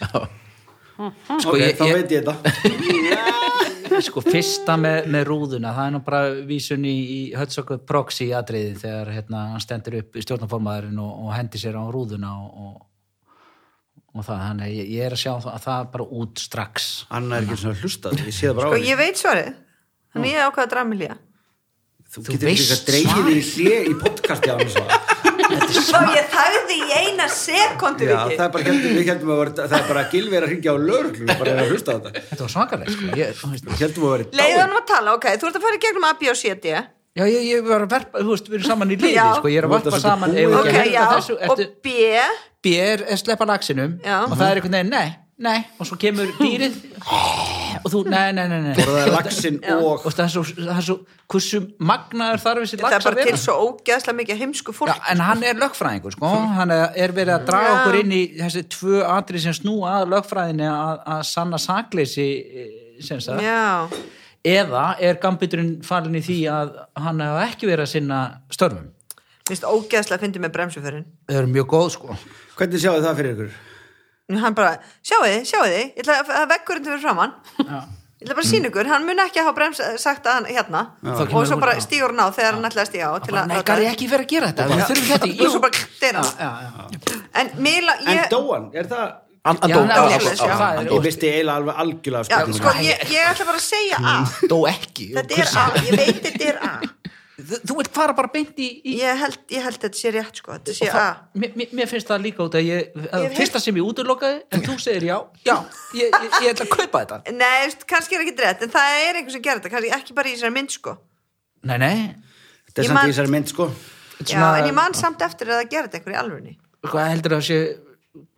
Speaker 2: Ok,
Speaker 5: ég-
Speaker 2: þá
Speaker 5: ég-
Speaker 2: veit Eh. Sko, ég þetta
Speaker 5: Sko, fyrsta með, með rúðuna, það er nú bara vísun í, í Hötsokku proxy atriði þegar hérna, hann stendur upp stjórnaformaðurinn og, og hendi sér á rúðuna og, og, og það, þannig að ég, ég er að sjá að það bara út strax.
Speaker 2: Anna er ekki svona hlustað, ég sé það bara á
Speaker 4: og
Speaker 2: henni.
Speaker 4: Sko, ég veit svarið þannig ég ákvaða dramilja
Speaker 2: Þú
Speaker 5: Þú
Speaker 2: getur líka
Speaker 5: veist
Speaker 2: dreigið þig í hlje í podcasti á hans
Speaker 4: (laughs) svo ég þagði í eina sekundu
Speaker 2: Já,
Speaker 4: ekki
Speaker 2: það er bara, heldum, við heldum að vera, það er bara gilvera að hringja á lörglu bara að hlusta á þetta
Speaker 5: Þetta var svakalega, sko. Ég, þú veist,
Speaker 2: Við heldum að vera
Speaker 4: leiðanum að tala, ok, þú ert að fara í gegnum A, B og C, D
Speaker 5: já, ég, ég var að verpa, þú veist, við erum saman í liði,
Speaker 4: Já.
Speaker 5: sko, ég er að
Speaker 2: Þú ert
Speaker 5: varpa
Speaker 2: að
Speaker 5: saman,
Speaker 2: svolítið
Speaker 5: eigum við
Speaker 4: ok,
Speaker 5: ekki að
Speaker 4: já,
Speaker 5: henda þessu,
Speaker 4: og
Speaker 5: ertu,
Speaker 4: B
Speaker 5: B er að sleppa laxinum
Speaker 4: Já.
Speaker 5: og það er einhvern veginn, nei, nei, og svo
Speaker 4: (laughs)
Speaker 5: kemur dýrið og þú, nei, nei, nei, nei.
Speaker 2: það er laxinn og
Speaker 5: og það er svo, það er svo hversu magnaður þarf þessi
Speaker 4: það
Speaker 5: lax
Speaker 4: er
Speaker 5: að
Speaker 4: bara til
Speaker 5: vera
Speaker 4: svo ógeðslega mikið heimsku
Speaker 5: Já,
Speaker 4: fólk
Speaker 5: en hann er lögfræðingur sko hann er er verið að draga
Speaker 4: Já.
Speaker 5: okkur inn í þessi tvö atri sem snúa að lögfræðinni að, að sanna sakleysi eh, sem sagt,
Speaker 4: já,
Speaker 5: eða er gambiturinn falin í því að hann hefur ekki verið að sinna störfum
Speaker 4: minnst ógeðslega fyndi með bremsuförin
Speaker 5: það eru mjög góð sko
Speaker 2: hvernig sjáðu það fyrir ykkur?
Speaker 4: hann bara, sjáu þið, sjáu þið ég ætla að vekkur þetta fyrir framann ég ætla bara að sína ykkur, hann mun ekki að hafa brems sagt að hann hérna
Speaker 5: Þá
Speaker 4: og
Speaker 5: kemur
Speaker 4: svo
Speaker 5: hún-
Speaker 4: bara
Speaker 5: já.
Speaker 4: stígur hann á þegar hann ætlaði að stíga á til
Speaker 5: bara,
Speaker 4: að
Speaker 5: nei,
Speaker 4: láta-
Speaker 5: gari ekki verið að gera þetta, við þurfum þetta
Speaker 4: (laughs)
Speaker 5: í-
Speaker 4: og svo bara klir hann
Speaker 5: já, já, já.
Speaker 4: en mér la-
Speaker 2: En
Speaker 4: ég-
Speaker 2: dóan, er það
Speaker 1: Andó.
Speaker 5: Já, hann er
Speaker 4: svoleiðis, já.
Speaker 1: Já,
Speaker 5: Það er
Speaker 1: andó.
Speaker 2: Ég visti eiginlega alveg algjörlega
Speaker 4: já,
Speaker 2: spurninguna.
Speaker 4: sko, ég ég ætla bara að segja A
Speaker 5: Mm. dó ekki
Speaker 4: þetta er A, ég veit þetta er A
Speaker 5: þú, þú veit fara bara beint í, í
Speaker 4: ég held, ég held þetta sé rétt sko, þetta sé
Speaker 5: það,
Speaker 4: A
Speaker 5: mér, mér- mér finnst það líka út að ég, að
Speaker 4: hef
Speaker 5: fyrsta sem ég útlokaði en þú segir já, já ég, ég, ég ætla að kaupa þetta
Speaker 4: Nei, veist, kannski er ekki rétt, en það er einhver sem gerir þetta kannski ekki bara í þessari mynd sko
Speaker 5: nei, nei,
Speaker 2: Þetta er
Speaker 4: ég
Speaker 2: samt
Speaker 4: man-
Speaker 2: í þessari mynd sko
Speaker 4: Já, en ég man samt eftir að það gerir þetta einhver í alvörni
Speaker 5: hvað heldur það sé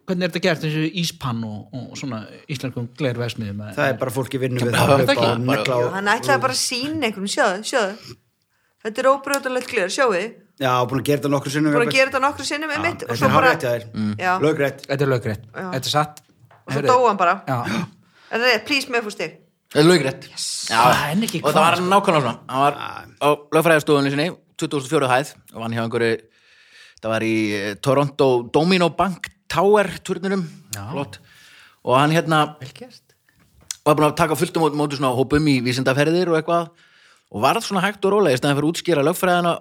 Speaker 5: hvernig er þetta gert eins og íspann og, og svona íslenskum glerversmiðum
Speaker 2: Það er bara fólki vinnu við
Speaker 1: Já,
Speaker 2: það
Speaker 5: það
Speaker 2: upp á
Speaker 5: ekki.
Speaker 2: negla og
Speaker 4: Hann ætlaði bara að sína einhverjum, sjáðu, sjáðu Þetta er óbrjóðulegt glir, sjáðu
Speaker 2: Já, búin að gera þetta nokkur sinnum
Speaker 4: Búin að
Speaker 2: jafnvel.
Speaker 4: gera þetta nokkru sinnum með mitt og
Speaker 2: Þetta
Speaker 4: svo
Speaker 2: er
Speaker 4: bara, Mm.
Speaker 2: hárétt
Speaker 1: Mm.
Speaker 2: að
Speaker 4: Já.
Speaker 2: þér Lögrétt
Speaker 5: þetta er löggrétt,
Speaker 4: Já.
Speaker 5: þetta er satt
Speaker 4: og svo dóa hann bara
Speaker 5: já,
Speaker 4: Er það rétt, plís með fústig
Speaker 1: Það er laugrætt. Já,
Speaker 5: Það er ekki
Speaker 1: og
Speaker 5: hvað,
Speaker 1: það var nákvæmlega svona. Hann var á lögfræðastofunni sinni, 2004 hæð, og hann hjá einhverju, það var í eh, Toronto Domino Bank Tower turninum, flott. Og hann hérna,
Speaker 5: vel gert
Speaker 1: var búin að taka fullt á móti, móti svona hópum í vísindaferðir og eitthvað og varð svona hægt og rólega í stæðan fyrir að útskýra lögfræðina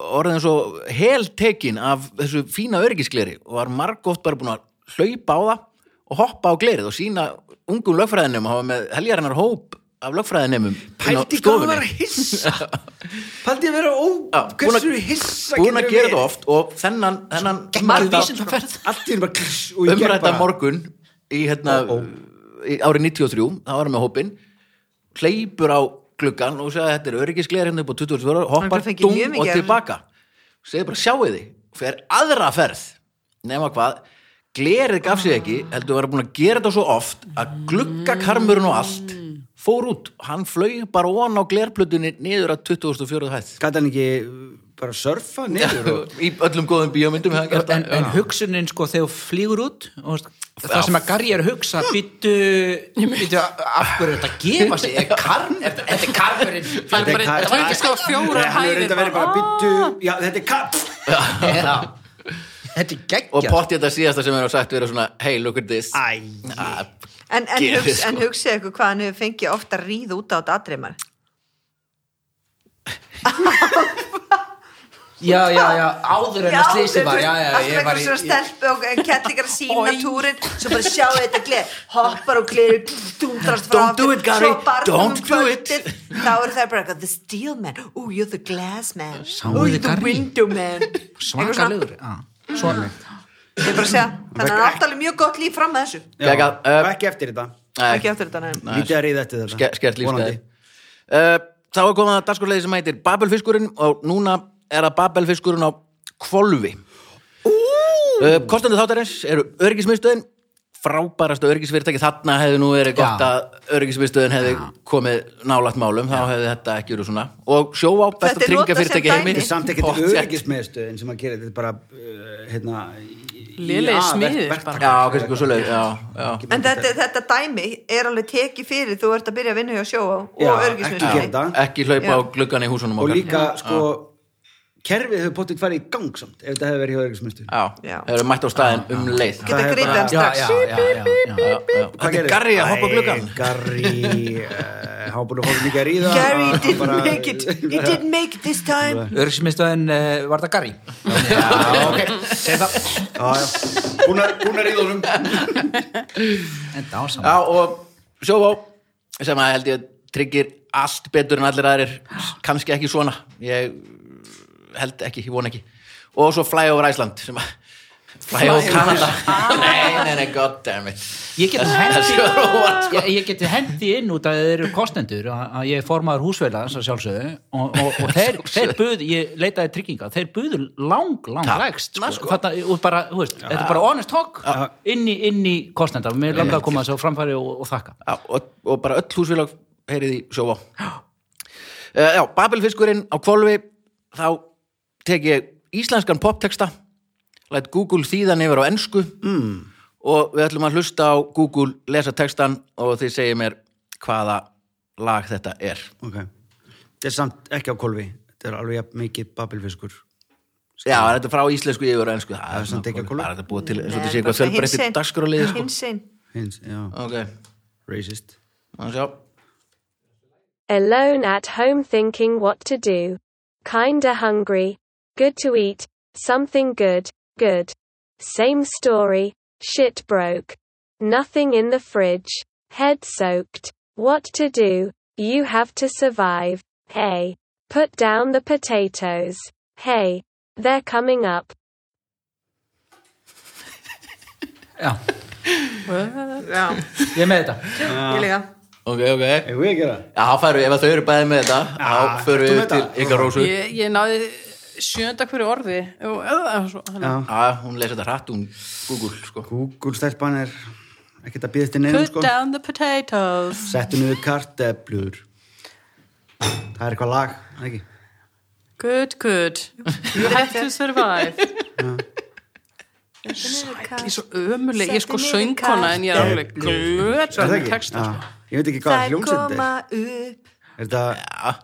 Speaker 1: orðin svo heltekin af þessu fína öryggisgleri og var margótt bara búin að hlaupa á það og hoppa á glerið og sína ungum lögfræðinum og hafa með heljarinnar hóp af lögfræðinumum inn á
Speaker 2: Pældi hvað hann
Speaker 1: stofunni.
Speaker 2: var hissa Pældi að vera ó,
Speaker 1: Já, búin að-
Speaker 2: hversu hissa
Speaker 1: búin að gera þetta oft og þennan, þennan
Speaker 6: Margir
Speaker 1: umrædda-
Speaker 6: vísindaferð
Speaker 2: Allt í henni bara kliss og ég gekk
Speaker 1: umrætta
Speaker 2: bara
Speaker 1: morgun í, hérna,
Speaker 2: Ó, ó.
Speaker 1: í árið 93 það var hann með hópin hleypur á gluggan og segja þetta er öryggisgleir hérna upp á 24
Speaker 4: Hann
Speaker 1: hoppar
Speaker 4: fengi
Speaker 1: dung
Speaker 4: mjög mikið
Speaker 1: og
Speaker 4: af-
Speaker 1: tilbaka segir bara sjáu þið fer aðra ferð nema hvað glerið gaf sig ekki heldur var búin að gera þetta svo oft að gluggakarmurinn og allt fór út, hann flög bara ofan á glerplutunni niður að 2004 hæð
Speaker 2: Gat hann ekki uh, bara surfa niður og
Speaker 1: í öllum góðum bíómyndum hefði hann gert það.
Speaker 6: en, en hugsunin sko þegar þú flýgur út og veist, það sem að Garri er að hugsa byttu, byttu af hverju er þetta að gefa
Speaker 1: (laughs)
Speaker 6: sig er karn, er, er þetta er karmurinn
Speaker 3: Það er bara,
Speaker 2: Þetta er-
Speaker 3: það er ekki skáð fjóra
Speaker 2: Hann hefur
Speaker 3: hæðir
Speaker 2: reynda verið bara
Speaker 4: Ah.
Speaker 2: byttu Já, þetta er kapp
Speaker 6: Já. þetta er
Speaker 1: og
Speaker 6: geggjart
Speaker 1: potti þetta síðasta sem er sagt vera svona hey look at this
Speaker 2: Æ,
Speaker 1: Ah,
Speaker 4: en, en,
Speaker 1: Gerið,
Speaker 4: hugs,
Speaker 1: sko.
Speaker 4: en hugsið ykkur hvað hann hefur fengið ofta að ríða út á þetta aðdreymar
Speaker 6: já, já, já, áður en að slísi var já, já, ég
Speaker 4: alltaf
Speaker 6: var
Speaker 4: einhver
Speaker 6: í
Speaker 4: svona stelpu og kettingar að sína túrin svo bara sjá þetta gler hoppar og gleri, dundrast frá
Speaker 1: Don't do
Speaker 4: aftur,
Speaker 1: it, Gary.
Speaker 4: svo barnum
Speaker 1: Don't
Speaker 4: um
Speaker 1: do it.
Speaker 4: kvöldið, þá eru þær bara eitthvað, the steel man, ooh you're the glass man
Speaker 6: Sáuði
Speaker 4: ooh you're the
Speaker 6: Gary?
Speaker 4: window man Eitthvað svona.
Speaker 6: svakalegur Já, svona
Speaker 4: Ég er bara að segja, þannig að hann átti alveg mjög gott líf fram að þessu
Speaker 2: já,
Speaker 1: Geggjað, eh.
Speaker 2: ekki eftir þetta
Speaker 1: nei.
Speaker 4: ekki aftur þetta, nei
Speaker 2: Lítið að reyða eftir þetta
Speaker 1: eh, Ske- skert lífsgæði
Speaker 2: Vonandi.
Speaker 1: uh, þá er komið að dagskorleiði sem heitir Babelfiskurinn og núna er það Babelfiskurinn á kvolfi uh, kostandi þáttarins eru öryggismiðstöðin frábærasta öryggisfyrirtæki þarna hefði nú verið gott
Speaker 6: Já.
Speaker 1: að öryggismiðstöðin hefði komið nálægt málum þá hefði þetta ekki verið svona og sjóvá besta
Speaker 4: Þetta er notað
Speaker 1: tryggingafyrirtæki
Speaker 4: sem
Speaker 1: heimi
Speaker 4: dæmi.
Speaker 2: Þetta er samt ekkert
Speaker 1: Pottþétt.
Speaker 2: öryggismiðstöðin sem að gera þetta er bara uh, hérna, í- í-
Speaker 3: Lélegir
Speaker 2: að-
Speaker 3: smiðir
Speaker 2: verk-
Speaker 3: bara.
Speaker 1: já, kannski eitthvað svoleið já, já.
Speaker 4: En þetta, þetta dæmi er alveg tekið fyrir þú ert að byrja að vinna hjá sjó
Speaker 2: Já,
Speaker 4: og
Speaker 2: ekki gera
Speaker 4: örgismiðstöðinni.
Speaker 2: þetta.
Speaker 1: ekki hlaupa
Speaker 4: Já.
Speaker 1: á gluggan í húsunum
Speaker 2: og
Speaker 1: okkar
Speaker 2: líka sko kerfið hefur potið farið í gang samt ef þetta hefur verið hjá öryggismiðstöðin
Speaker 1: já,
Speaker 4: Já.
Speaker 1: hefur mætt á staðinn um leið
Speaker 4: Geta
Speaker 2: Það er
Speaker 4: gripið
Speaker 2: bara-
Speaker 4: hann
Speaker 6: já,
Speaker 4: strax.
Speaker 6: já, já, já, já.
Speaker 1: Já, já. Þetta er Garri að hoppa á gluggan
Speaker 2: Garri, uh, hann var búin að fóra mikið að ríða
Speaker 4: Gary
Speaker 2: hann
Speaker 4: didn't
Speaker 2: bara-
Speaker 4: make it he didn't make it this time
Speaker 6: örgismistöðin uh, var það Garri já, ok, segi það
Speaker 2: Já, já. Búin að- búin að ríða honum
Speaker 6: en dásamt
Speaker 1: Já, og sjóvá sem að held ég tryggir allt betur en allir aðrir kannski ekki svona ég held ekki, ég von ekki og svo Fly over Iceland sem að Fly over Canada Nei, nei, nei, goddammit
Speaker 6: Ég geti
Speaker 1: Þessi var óvart,
Speaker 6: hendi, ég, ég geti hendi inn út að þeir eru kostendur að að ég er formaður húsfélags að sjálfsögðu og, og, og þeir, þeir buðu, ég leitaði trygginga þeir buðu lang, lang
Speaker 1: Takk.
Speaker 6: lægst sko.
Speaker 1: Na, sko.
Speaker 6: Þarna, og bara, þú veist, þetta er bara honest talk inn í, inn í kostendar mér langar að koma þessu á framfæri og, og þakka
Speaker 1: Já, og, og bara öll húsfélag heyrið í sjóvá uh, Já, Babelfiskurinn á kvolfi þá tek ég íslenskan popteksta læt Google þýðan yfir á ensku mm.
Speaker 2: Hmm.
Speaker 1: og við ætlum að hlusta á Google lesa textan og þið segir mér hvaða lag þetta er
Speaker 2: ok, þetta er samt ekki á kolvi þetta er alveg jafn mikið babelfiskur
Speaker 1: Já, en þetta er frá íslensku yfir á ensku Það
Speaker 2: er samt ekki að kúla.
Speaker 1: bara þetta búið til eins og
Speaker 4: Nei,
Speaker 1: þetta sé
Speaker 4: bara
Speaker 1: eitthvað fjölbreytti
Speaker 4: hinsegin-
Speaker 1: dagskrálið sko.
Speaker 4: hinsegin.
Speaker 2: hins, já,
Speaker 1: Ok,
Speaker 2: racist
Speaker 1: þannig sjá
Speaker 7: Alone at home thinking what to do. Kinda hungry. Good to eat. Something good. Good. Same story. Shit broke. Nothing in the fridge. Head soaked. What to do? You have to survive. Hey. Put down the potatoes. Hey. They're coming up.
Speaker 6: Já,
Speaker 4: Já,
Speaker 6: ég er með þetta
Speaker 4: ég líka
Speaker 1: Ok, ok
Speaker 2: eða við að gera það?
Speaker 1: Já, þá færum við, ef að þau eru bæði með þetta
Speaker 2: Já,
Speaker 1: þá förum
Speaker 2: ertu
Speaker 1: við
Speaker 2: með
Speaker 1: til
Speaker 2: þetta?
Speaker 1: ykkar rósu
Speaker 3: Ég, ég náði sjönda hverju orði og, og, svo, þannig að-
Speaker 2: Já.
Speaker 1: Já, hún lesa þetta hratt, hún Google, sko.
Speaker 2: Google stelpan er ekkert að býða til neinum
Speaker 3: Put
Speaker 2: sko
Speaker 3: down the potatoes
Speaker 2: settu niður karteblur það er eitthvað lag er það ekki?
Speaker 3: Good, good You have to survive Ég er svo ömuleg, ég er sko
Speaker 4: Settu niður
Speaker 3: söngkona en ég er alveg glöð
Speaker 2: Er það
Speaker 3: með
Speaker 2: ekki?
Speaker 3: texta
Speaker 2: Já.
Speaker 3: sko.
Speaker 2: ég veit ekki hvað
Speaker 4: Þær
Speaker 2: hljómsveit
Speaker 4: koma
Speaker 2: er
Speaker 4: upp
Speaker 2: er þetta
Speaker 1: Já,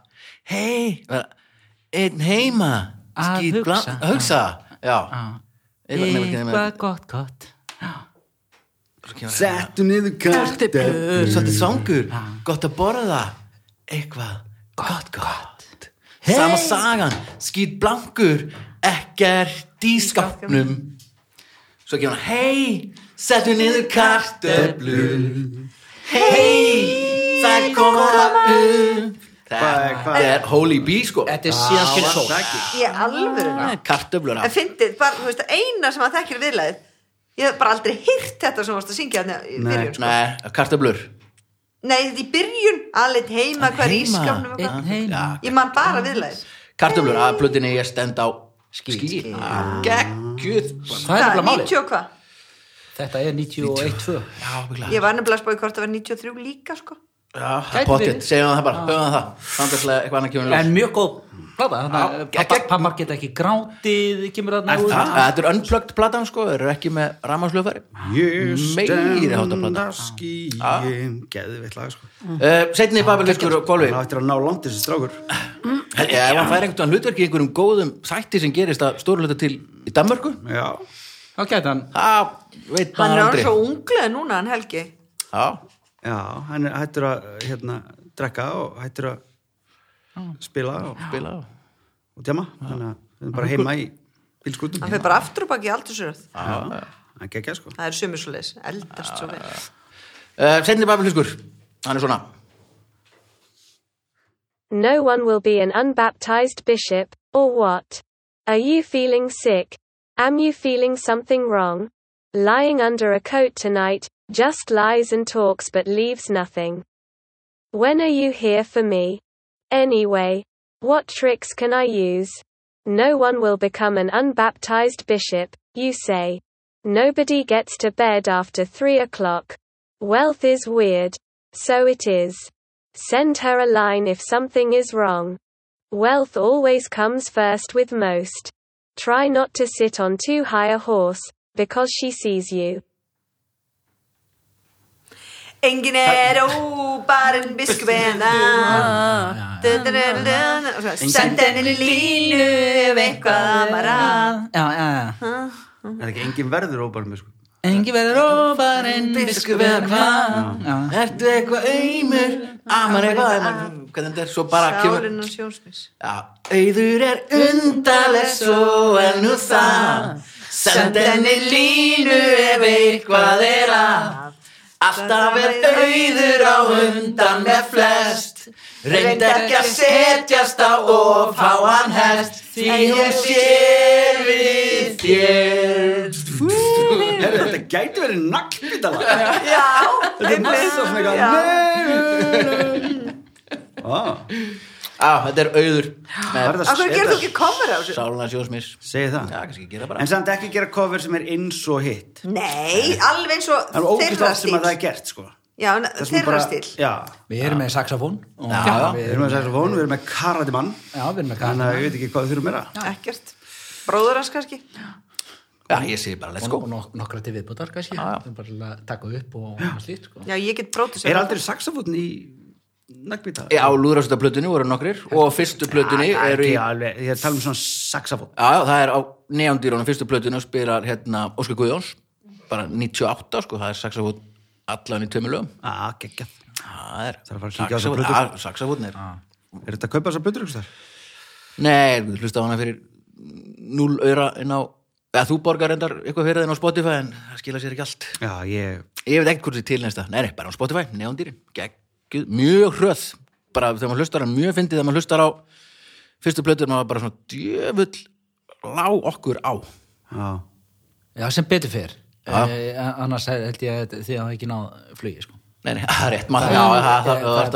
Speaker 1: hei, einn heima,
Speaker 6: Að
Speaker 1: skýt
Speaker 6: hugsa.
Speaker 1: blan- hugsa, já. Eitthvað- nefnir ekki
Speaker 6: eitthvað
Speaker 1: nefnir-
Speaker 6: gott, gott
Speaker 1: svo kemur hérna,
Speaker 2: settu niður karteblur
Speaker 1: Svolítið svangur, gott að borða, eitthvað, gott, gott. sama sagan, skýt blankur ekkert í skapnum svo kemur hann hei, settu niður kartöflu hei það koma upp
Speaker 2: Hvað-
Speaker 1: það
Speaker 2: hvað-
Speaker 1: er holy bee sko
Speaker 6: Þetta er síðan skil sól.
Speaker 2: Saki.
Speaker 4: Ég alveg
Speaker 1: kartöflur
Speaker 4: En fyndið, bara, þú veist, eina sem að þekkir viðlaðið Ég hef bara aldrei hýrt þetta sem varst að syngja þarna í
Speaker 2: Nei.
Speaker 4: byrjun sko.
Speaker 1: Nei, kartöflur
Speaker 4: Nei, í byrjun, alveg heima, hvað er í
Speaker 1: Heima.
Speaker 4: skapnum og
Speaker 1: Ah,
Speaker 4: hvað.
Speaker 1: ja,
Speaker 4: Ég man bara viðlaðið
Speaker 1: kartöflur að plötinni ég stend á skýt
Speaker 6: Skít.
Speaker 1: geggjuð
Speaker 6: Það er nefnilega málið.
Speaker 4: 90 og hvað?
Speaker 6: Þetta er 91-2.
Speaker 1: já, ábyggilega.
Speaker 4: Ég var nefnilega að spá í hvort það var 93 líka sko.
Speaker 1: já,
Speaker 6: Gæti
Speaker 1: potið,
Speaker 6: verið.
Speaker 1: segjum það bara höfum það, þannig að eitthvað annað kemur í ljós.
Speaker 6: En mjög góð plata.
Speaker 1: Já,
Speaker 6: þannig að
Speaker 1: gegn-
Speaker 6: Pappa pappar geta ekki grátið, kemur þarna
Speaker 2: Er
Speaker 6: út.
Speaker 2: það?
Speaker 1: Þetta er unplugged platan sko, þeir eru ekki með ramaslöfari
Speaker 2: Ég
Speaker 1: Meiri háttar
Speaker 2: stend
Speaker 1: plata.
Speaker 2: á skýjum Geðvitt lag sko
Speaker 1: uh, Setni babiliskur og golfi
Speaker 2: Það áttir að ná langt þessi strákur
Speaker 1: Ef hann fær einhvern hlutverk í einhverjum góðum sætti sem gerist að stóru hluta til í Danmörku
Speaker 2: Já
Speaker 6: Þá geta hann.
Speaker 1: Það veit
Speaker 4: Hann
Speaker 1: maður
Speaker 4: er
Speaker 1: aldrei
Speaker 4: orðinn svo unglega núna, hann Helgi
Speaker 1: Já,
Speaker 2: Já, hann er hættur að hérna, drekka og hættur að spila og,
Speaker 1: bila á
Speaker 2: og djama Þannig að við erum bara heima í bílskútum
Speaker 4: Hann fyrir bara aftur og baki í aldursuröð
Speaker 2: Já, hann gekkja sko
Speaker 4: Það er sömur svo leis, eldast svo vel
Speaker 1: uh, Setni babiliskur, hann er svona
Speaker 7: No one will be an unbaptized bishop, or what? Are you feeling sick? Am you feeling something wrong? Lying under a coat tonight, just lies and talks but leaves nothing. When are you here for me? Anyway, what tricks can I use? No one will become an unbaptized bishop, you say. Nobody gets to bed after three o'clock. Wealth is weird. So it is. Send her a line if something is wrong. Wealth always comes first with most. Try not to sit on too high a horse, because she sees you.
Speaker 4: Engin er óbarinn hérna. biskupina Send henni línu ef eitthvað var að
Speaker 6: Já, já, já.
Speaker 2: Það er ekki engin verður óbærum sko
Speaker 6: Engi verður óbarinn, biskup eða hvað. Já.
Speaker 1: Ertu eitthvað aumur Amar Ah, eitthvað aumur Hvernig þetta er svo bara kemur
Speaker 4: Sálinn og sjónsmis
Speaker 1: Já, auður er undarleg svo en nú það Send henni línu ef eitthvað er að Alltaf er auður á undan með flest Reynd ekki að setjast á of háan hest Því hún sér við þér
Speaker 2: Heyrðu, Þetta gæti verið naglbítala Þetta
Speaker 4: Já,
Speaker 2: er massa svona eitthvað
Speaker 4: Já.
Speaker 2: Nei Á,
Speaker 1: Á, þetta er auður
Speaker 2: Ah, var
Speaker 1: með
Speaker 2: þetta-
Speaker 4: af hverju gerðu þú
Speaker 2: þetta-
Speaker 4: ekki cover á þessu?
Speaker 1: sáluna sjóðsmís
Speaker 2: Segir það
Speaker 1: Já, kannski gera bara
Speaker 2: En samt ekki gera cover sem er eins og hitt
Speaker 4: Nei, alveg eins og
Speaker 2: Það er ógæst
Speaker 4: þeirra
Speaker 2: oft sem
Speaker 4: stíl
Speaker 2: að það er gert sko
Speaker 4: Já, en
Speaker 2: Það er svona
Speaker 4: þeirra
Speaker 2: bara-
Speaker 4: stíl
Speaker 2: Já,
Speaker 6: Við erum með saxofón. og-
Speaker 1: Já, já.
Speaker 6: Við
Speaker 2: Við erum með saxofón, við erum með karatimann
Speaker 6: Já, við erum með
Speaker 2: Þannig
Speaker 6: karl.
Speaker 2: að ég veit ekki hvað við þurfum meira
Speaker 4: Ekkert Bróður hans kannski
Speaker 1: Já, ég segi bara let's go
Speaker 6: sko. Og nok nokkra til viðbútar, kannski. Við erum bara að taka upp og slít, sko.
Speaker 4: Já, ég get brótið
Speaker 2: Er aldrei saxofón í nagbýta?
Speaker 1: Já, lúðrásutaplötunni voru nokkrir og á fyrstu plötunni eru
Speaker 2: Ah,
Speaker 1: í
Speaker 2: Ekki alveg, ég er að tala um svona saxofón
Speaker 1: Já, já, það er á neandýrónum fyrstu plötunum spilar hérna Óskar Guðjóns bara 98 sko, það er saxafótt allan í tömmu lögum
Speaker 2: Á,
Speaker 6: Ah,
Speaker 2: geggjað
Speaker 1: Það er
Speaker 2: Þarf að fara að kíkja á þessa
Speaker 1: saxófónn-
Speaker 2: plötu. sko. Ah.
Speaker 1: Já, saxófónn er
Speaker 2: Er þetta að kaupa þessar blöður ykkur þar?
Speaker 1: Nei, við hlusta á hana fyrir 0 öra en á eða þú borgar endar eitthvað fyrir þenn á Spotify en það skila sér ekki allt
Speaker 2: Já, ég,
Speaker 1: Ég veit ekkert hvort þið til næsta, nei, nei, bara á Spotify neandýrin, geggjuð, mjög hröð bara þegar maður hlustar, hann mjög fyndið þegar maður hlustar á fyrstu plötunum maður bara svona djöfull lá okkur á
Speaker 2: já
Speaker 6: Já, sem betur fyrr.
Speaker 1: Já.
Speaker 6: Eh, annars held ég að þið hafa ekki náð flugi, sko.
Speaker 1: Nei, (laughs) nei, það er rétt maður, já, það- það það- það- það-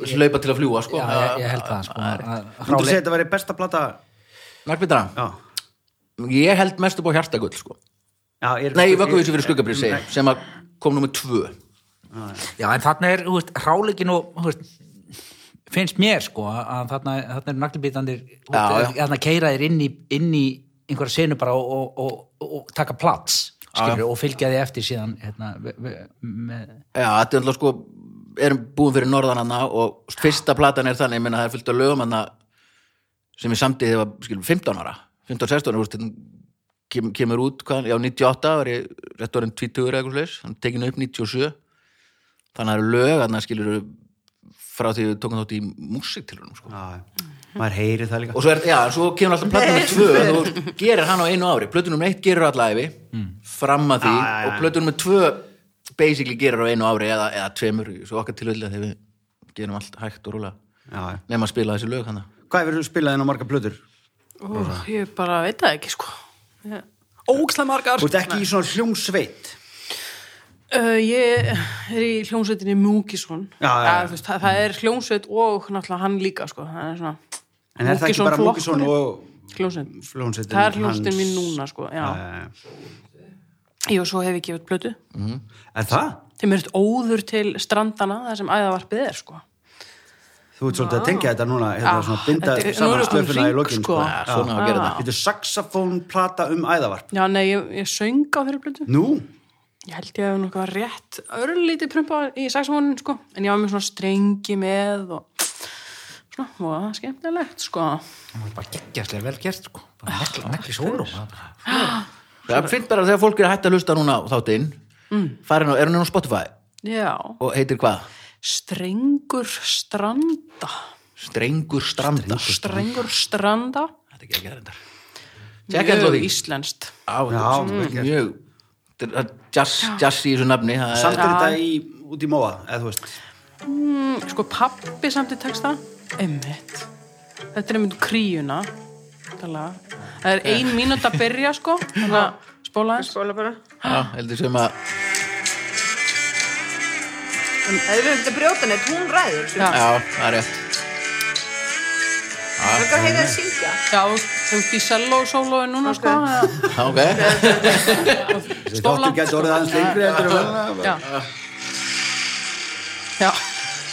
Speaker 1: það hlaupa til að fljúa, sko.
Speaker 6: Já, ég, ég held það, sko. að-
Speaker 2: Þú
Speaker 6: frá-
Speaker 2: segir þetta væri besta plata
Speaker 1: Narkvindana,
Speaker 2: Já,
Speaker 1: ég held mest upp á hjartagull, sko.
Speaker 2: já ég er
Speaker 1: Nei, vökkuvísu fyrir skuggabrið, segir, sem að kom númer tvö.
Speaker 6: Já, en þarna er, þú veist, hráleikin og, þú veist, finnst mér, sko, að þarna, þarna er naglbítandir,
Speaker 1: Já, já.
Speaker 6: þarna keira þér inn í, inn í einhverja senu bara og, og, og, og taka plats, skilur, og fylgja þið eftir síðan, hérna, ve- ve- með,
Speaker 1: Já, þetta er alltaf, sko, erum búin fyrir norðananna og fyrsta platan er þannig, ég meina það er fullt af lögum hana sem ég samtið þegar, ég var, skilum, 15 ára, 15-16 ára, þú veist, þetta kem, kemur út, hvað, já, 98, var ég rétt orðin 20 eða eitthvað slags, hann tekinu upp 97, þannig að það eru lög, þannig að skilur, frá því við tókum þátt í músiktilunum sko.
Speaker 2: Já, maður heyri það líka
Speaker 1: og svo, er, já, svo kemur alltaf plötunum með tvö en þú gerir hann á einu ári plötunum eitt gerir allæfi mm. fram að því
Speaker 2: Já, já, já.
Speaker 1: og plötunum með tvö basically gerir á einu ári eða, eða tveimur svo okkar tilvöldilega þegar við gerum allt hægt og rúlega
Speaker 2: já, já.
Speaker 1: nema að spila þessi lög hann
Speaker 2: Hvað hefur þú spilað inn á marga plötur?
Speaker 3: Ó, ég bara veit það ekki, sko. Ég- Ógeðslega margar.
Speaker 2: Þú ert ekki í svona hljómsveit
Speaker 3: Uh, ég er í hljómsveitinni Múkisson.
Speaker 2: Já, já, já.
Speaker 3: þú veist, það, það er hljómsveit og náttúrulega hann líka, sko. Það er svona...
Speaker 2: En er það ekki bara Múkisson og
Speaker 3: Hljómsveit.
Speaker 2: hljómsveitin
Speaker 3: Það er hljómsveitin
Speaker 2: hans?
Speaker 3: mín núna, sko. Já.
Speaker 2: Eh,
Speaker 3: Ég og svo hef ég gefið plötu.
Speaker 2: Er það?
Speaker 3: Þeim er eitt óður til strandana, það sem æðavarpið er, sko.
Speaker 2: Þú ert svolítið að tengja þetta núna
Speaker 3: Ah,
Speaker 2: hérna svona binda
Speaker 3: þetta er- nú
Speaker 2: saman
Speaker 3: erum við komin
Speaker 2: stöfuna í
Speaker 3: hring,
Speaker 2: lokin sko.
Speaker 3: sko. Já,
Speaker 1: svona á að gera
Speaker 3: Já.
Speaker 1: það
Speaker 2: Þetta er saxofónplata um æðavarp
Speaker 3: Já, nei, ég, ég söng á þeirri plötu.
Speaker 2: Nú,
Speaker 3: Ég held ég hef nokkað rétt örlítið prumpa í saxofónin, sko. En ég var með svona strengi með og svona, og það er skemmtilegt, sko.
Speaker 6: það var bara geggjastlega vel gert sko. bara nekli, nekli sólum það var bara-
Speaker 1: það er fint bara þegar fólk er hægt að hlusta núna á þáttinn mm. farin á, er hún á Spotify
Speaker 3: Já,
Speaker 1: og heitir hvað?
Speaker 3: strengur stranda.
Speaker 1: Strengur Stranda
Speaker 3: Strengur stranda.
Speaker 1: þetta er ekki að gera þetta Tjekka þetta á því.
Speaker 3: Íslenskt.
Speaker 1: Á,
Speaker 2: Já,
Speaker 1: þetta er svona
Speaker 2: vel gert.
Speaker 1: mjög þetta er jazz, jazz í þessu nafni það er-
Speaker 2: samt er þetta í, út í móa eða þú veist
Speaker 3: Mm, Sko, pappi samt í texta. Einmitt. Þetta er einmitt úr kríuna. Þetta lag. Það er ein mínúta að byrja, sko. Þannig að spóla eins.
Speaker 4: Skóla bara.
Speaker 1: Já, heldur sem að
Speaker 4: Það eru þetta brjótan eitt, hún ræður. sko.
Speaker 3: Já.
Speaker 1: Já, það er rétt
Speaker 4: Það er að heyra að syngja.
Speaker 3: Já, þú ert í selló-sólói núna, sko. eða-
Speaker 1: Já, (laughs) Ok,
Speaker 2: Þáttur
Speaker 3: Stóla.
Speaker 2: getur orðið aðeins lengri heldur en venjulega.
Speaker 3: Já. Já.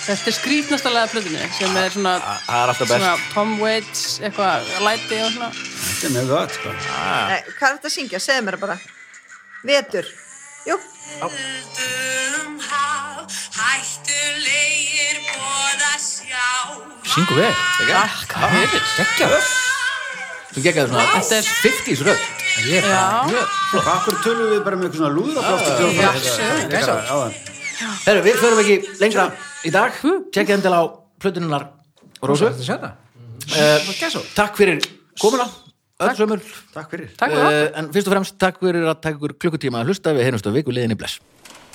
Speaker 3: Þetta er skrýtnasta lega plötunni sem er svona,
Speaker 1: það er alltaf
Speaker 3: svona
Speaker 1: best
Speaker 3: Tom Waits, eitthvað læti og svona.
Speaker 2: Þetta er mjög gott sko.
Speaker 4: Nei, hvað er þetta að syngja? Segðu mér það bara. Vetur. Jú.
Speaker 6: syngu vel geggjast
Speaker 1: Þú gekkaði svona
Speaker 3: Þetta er-
Speaker 1: 50s röð
Speaker 6: ég er bara
Speaker 3: Já,
Speaker 2: Og Akkur tölum við bara með eitthvað svona lúður og blástur
Speaker 3: Já, sure.
Speaker 1: Herru, við förum ekki lengra í dag
Speaker 3: Hmm.
Speaker 1: Tjekkið endilega á plötuninnar Rósu
Speaker 6: þetta sér það
Speaker 1: uh, Takk fyrir komuna Öll sömur
Speaker 2: Takk fyrir
Speaker 1: Eh,
Speaker 3: takk fyrir það.
Speaker 1: En fyrst og fremst takk fyrir að taka ykkur klukkutíma að hlusta Við heyrjumst á viku liðinni bless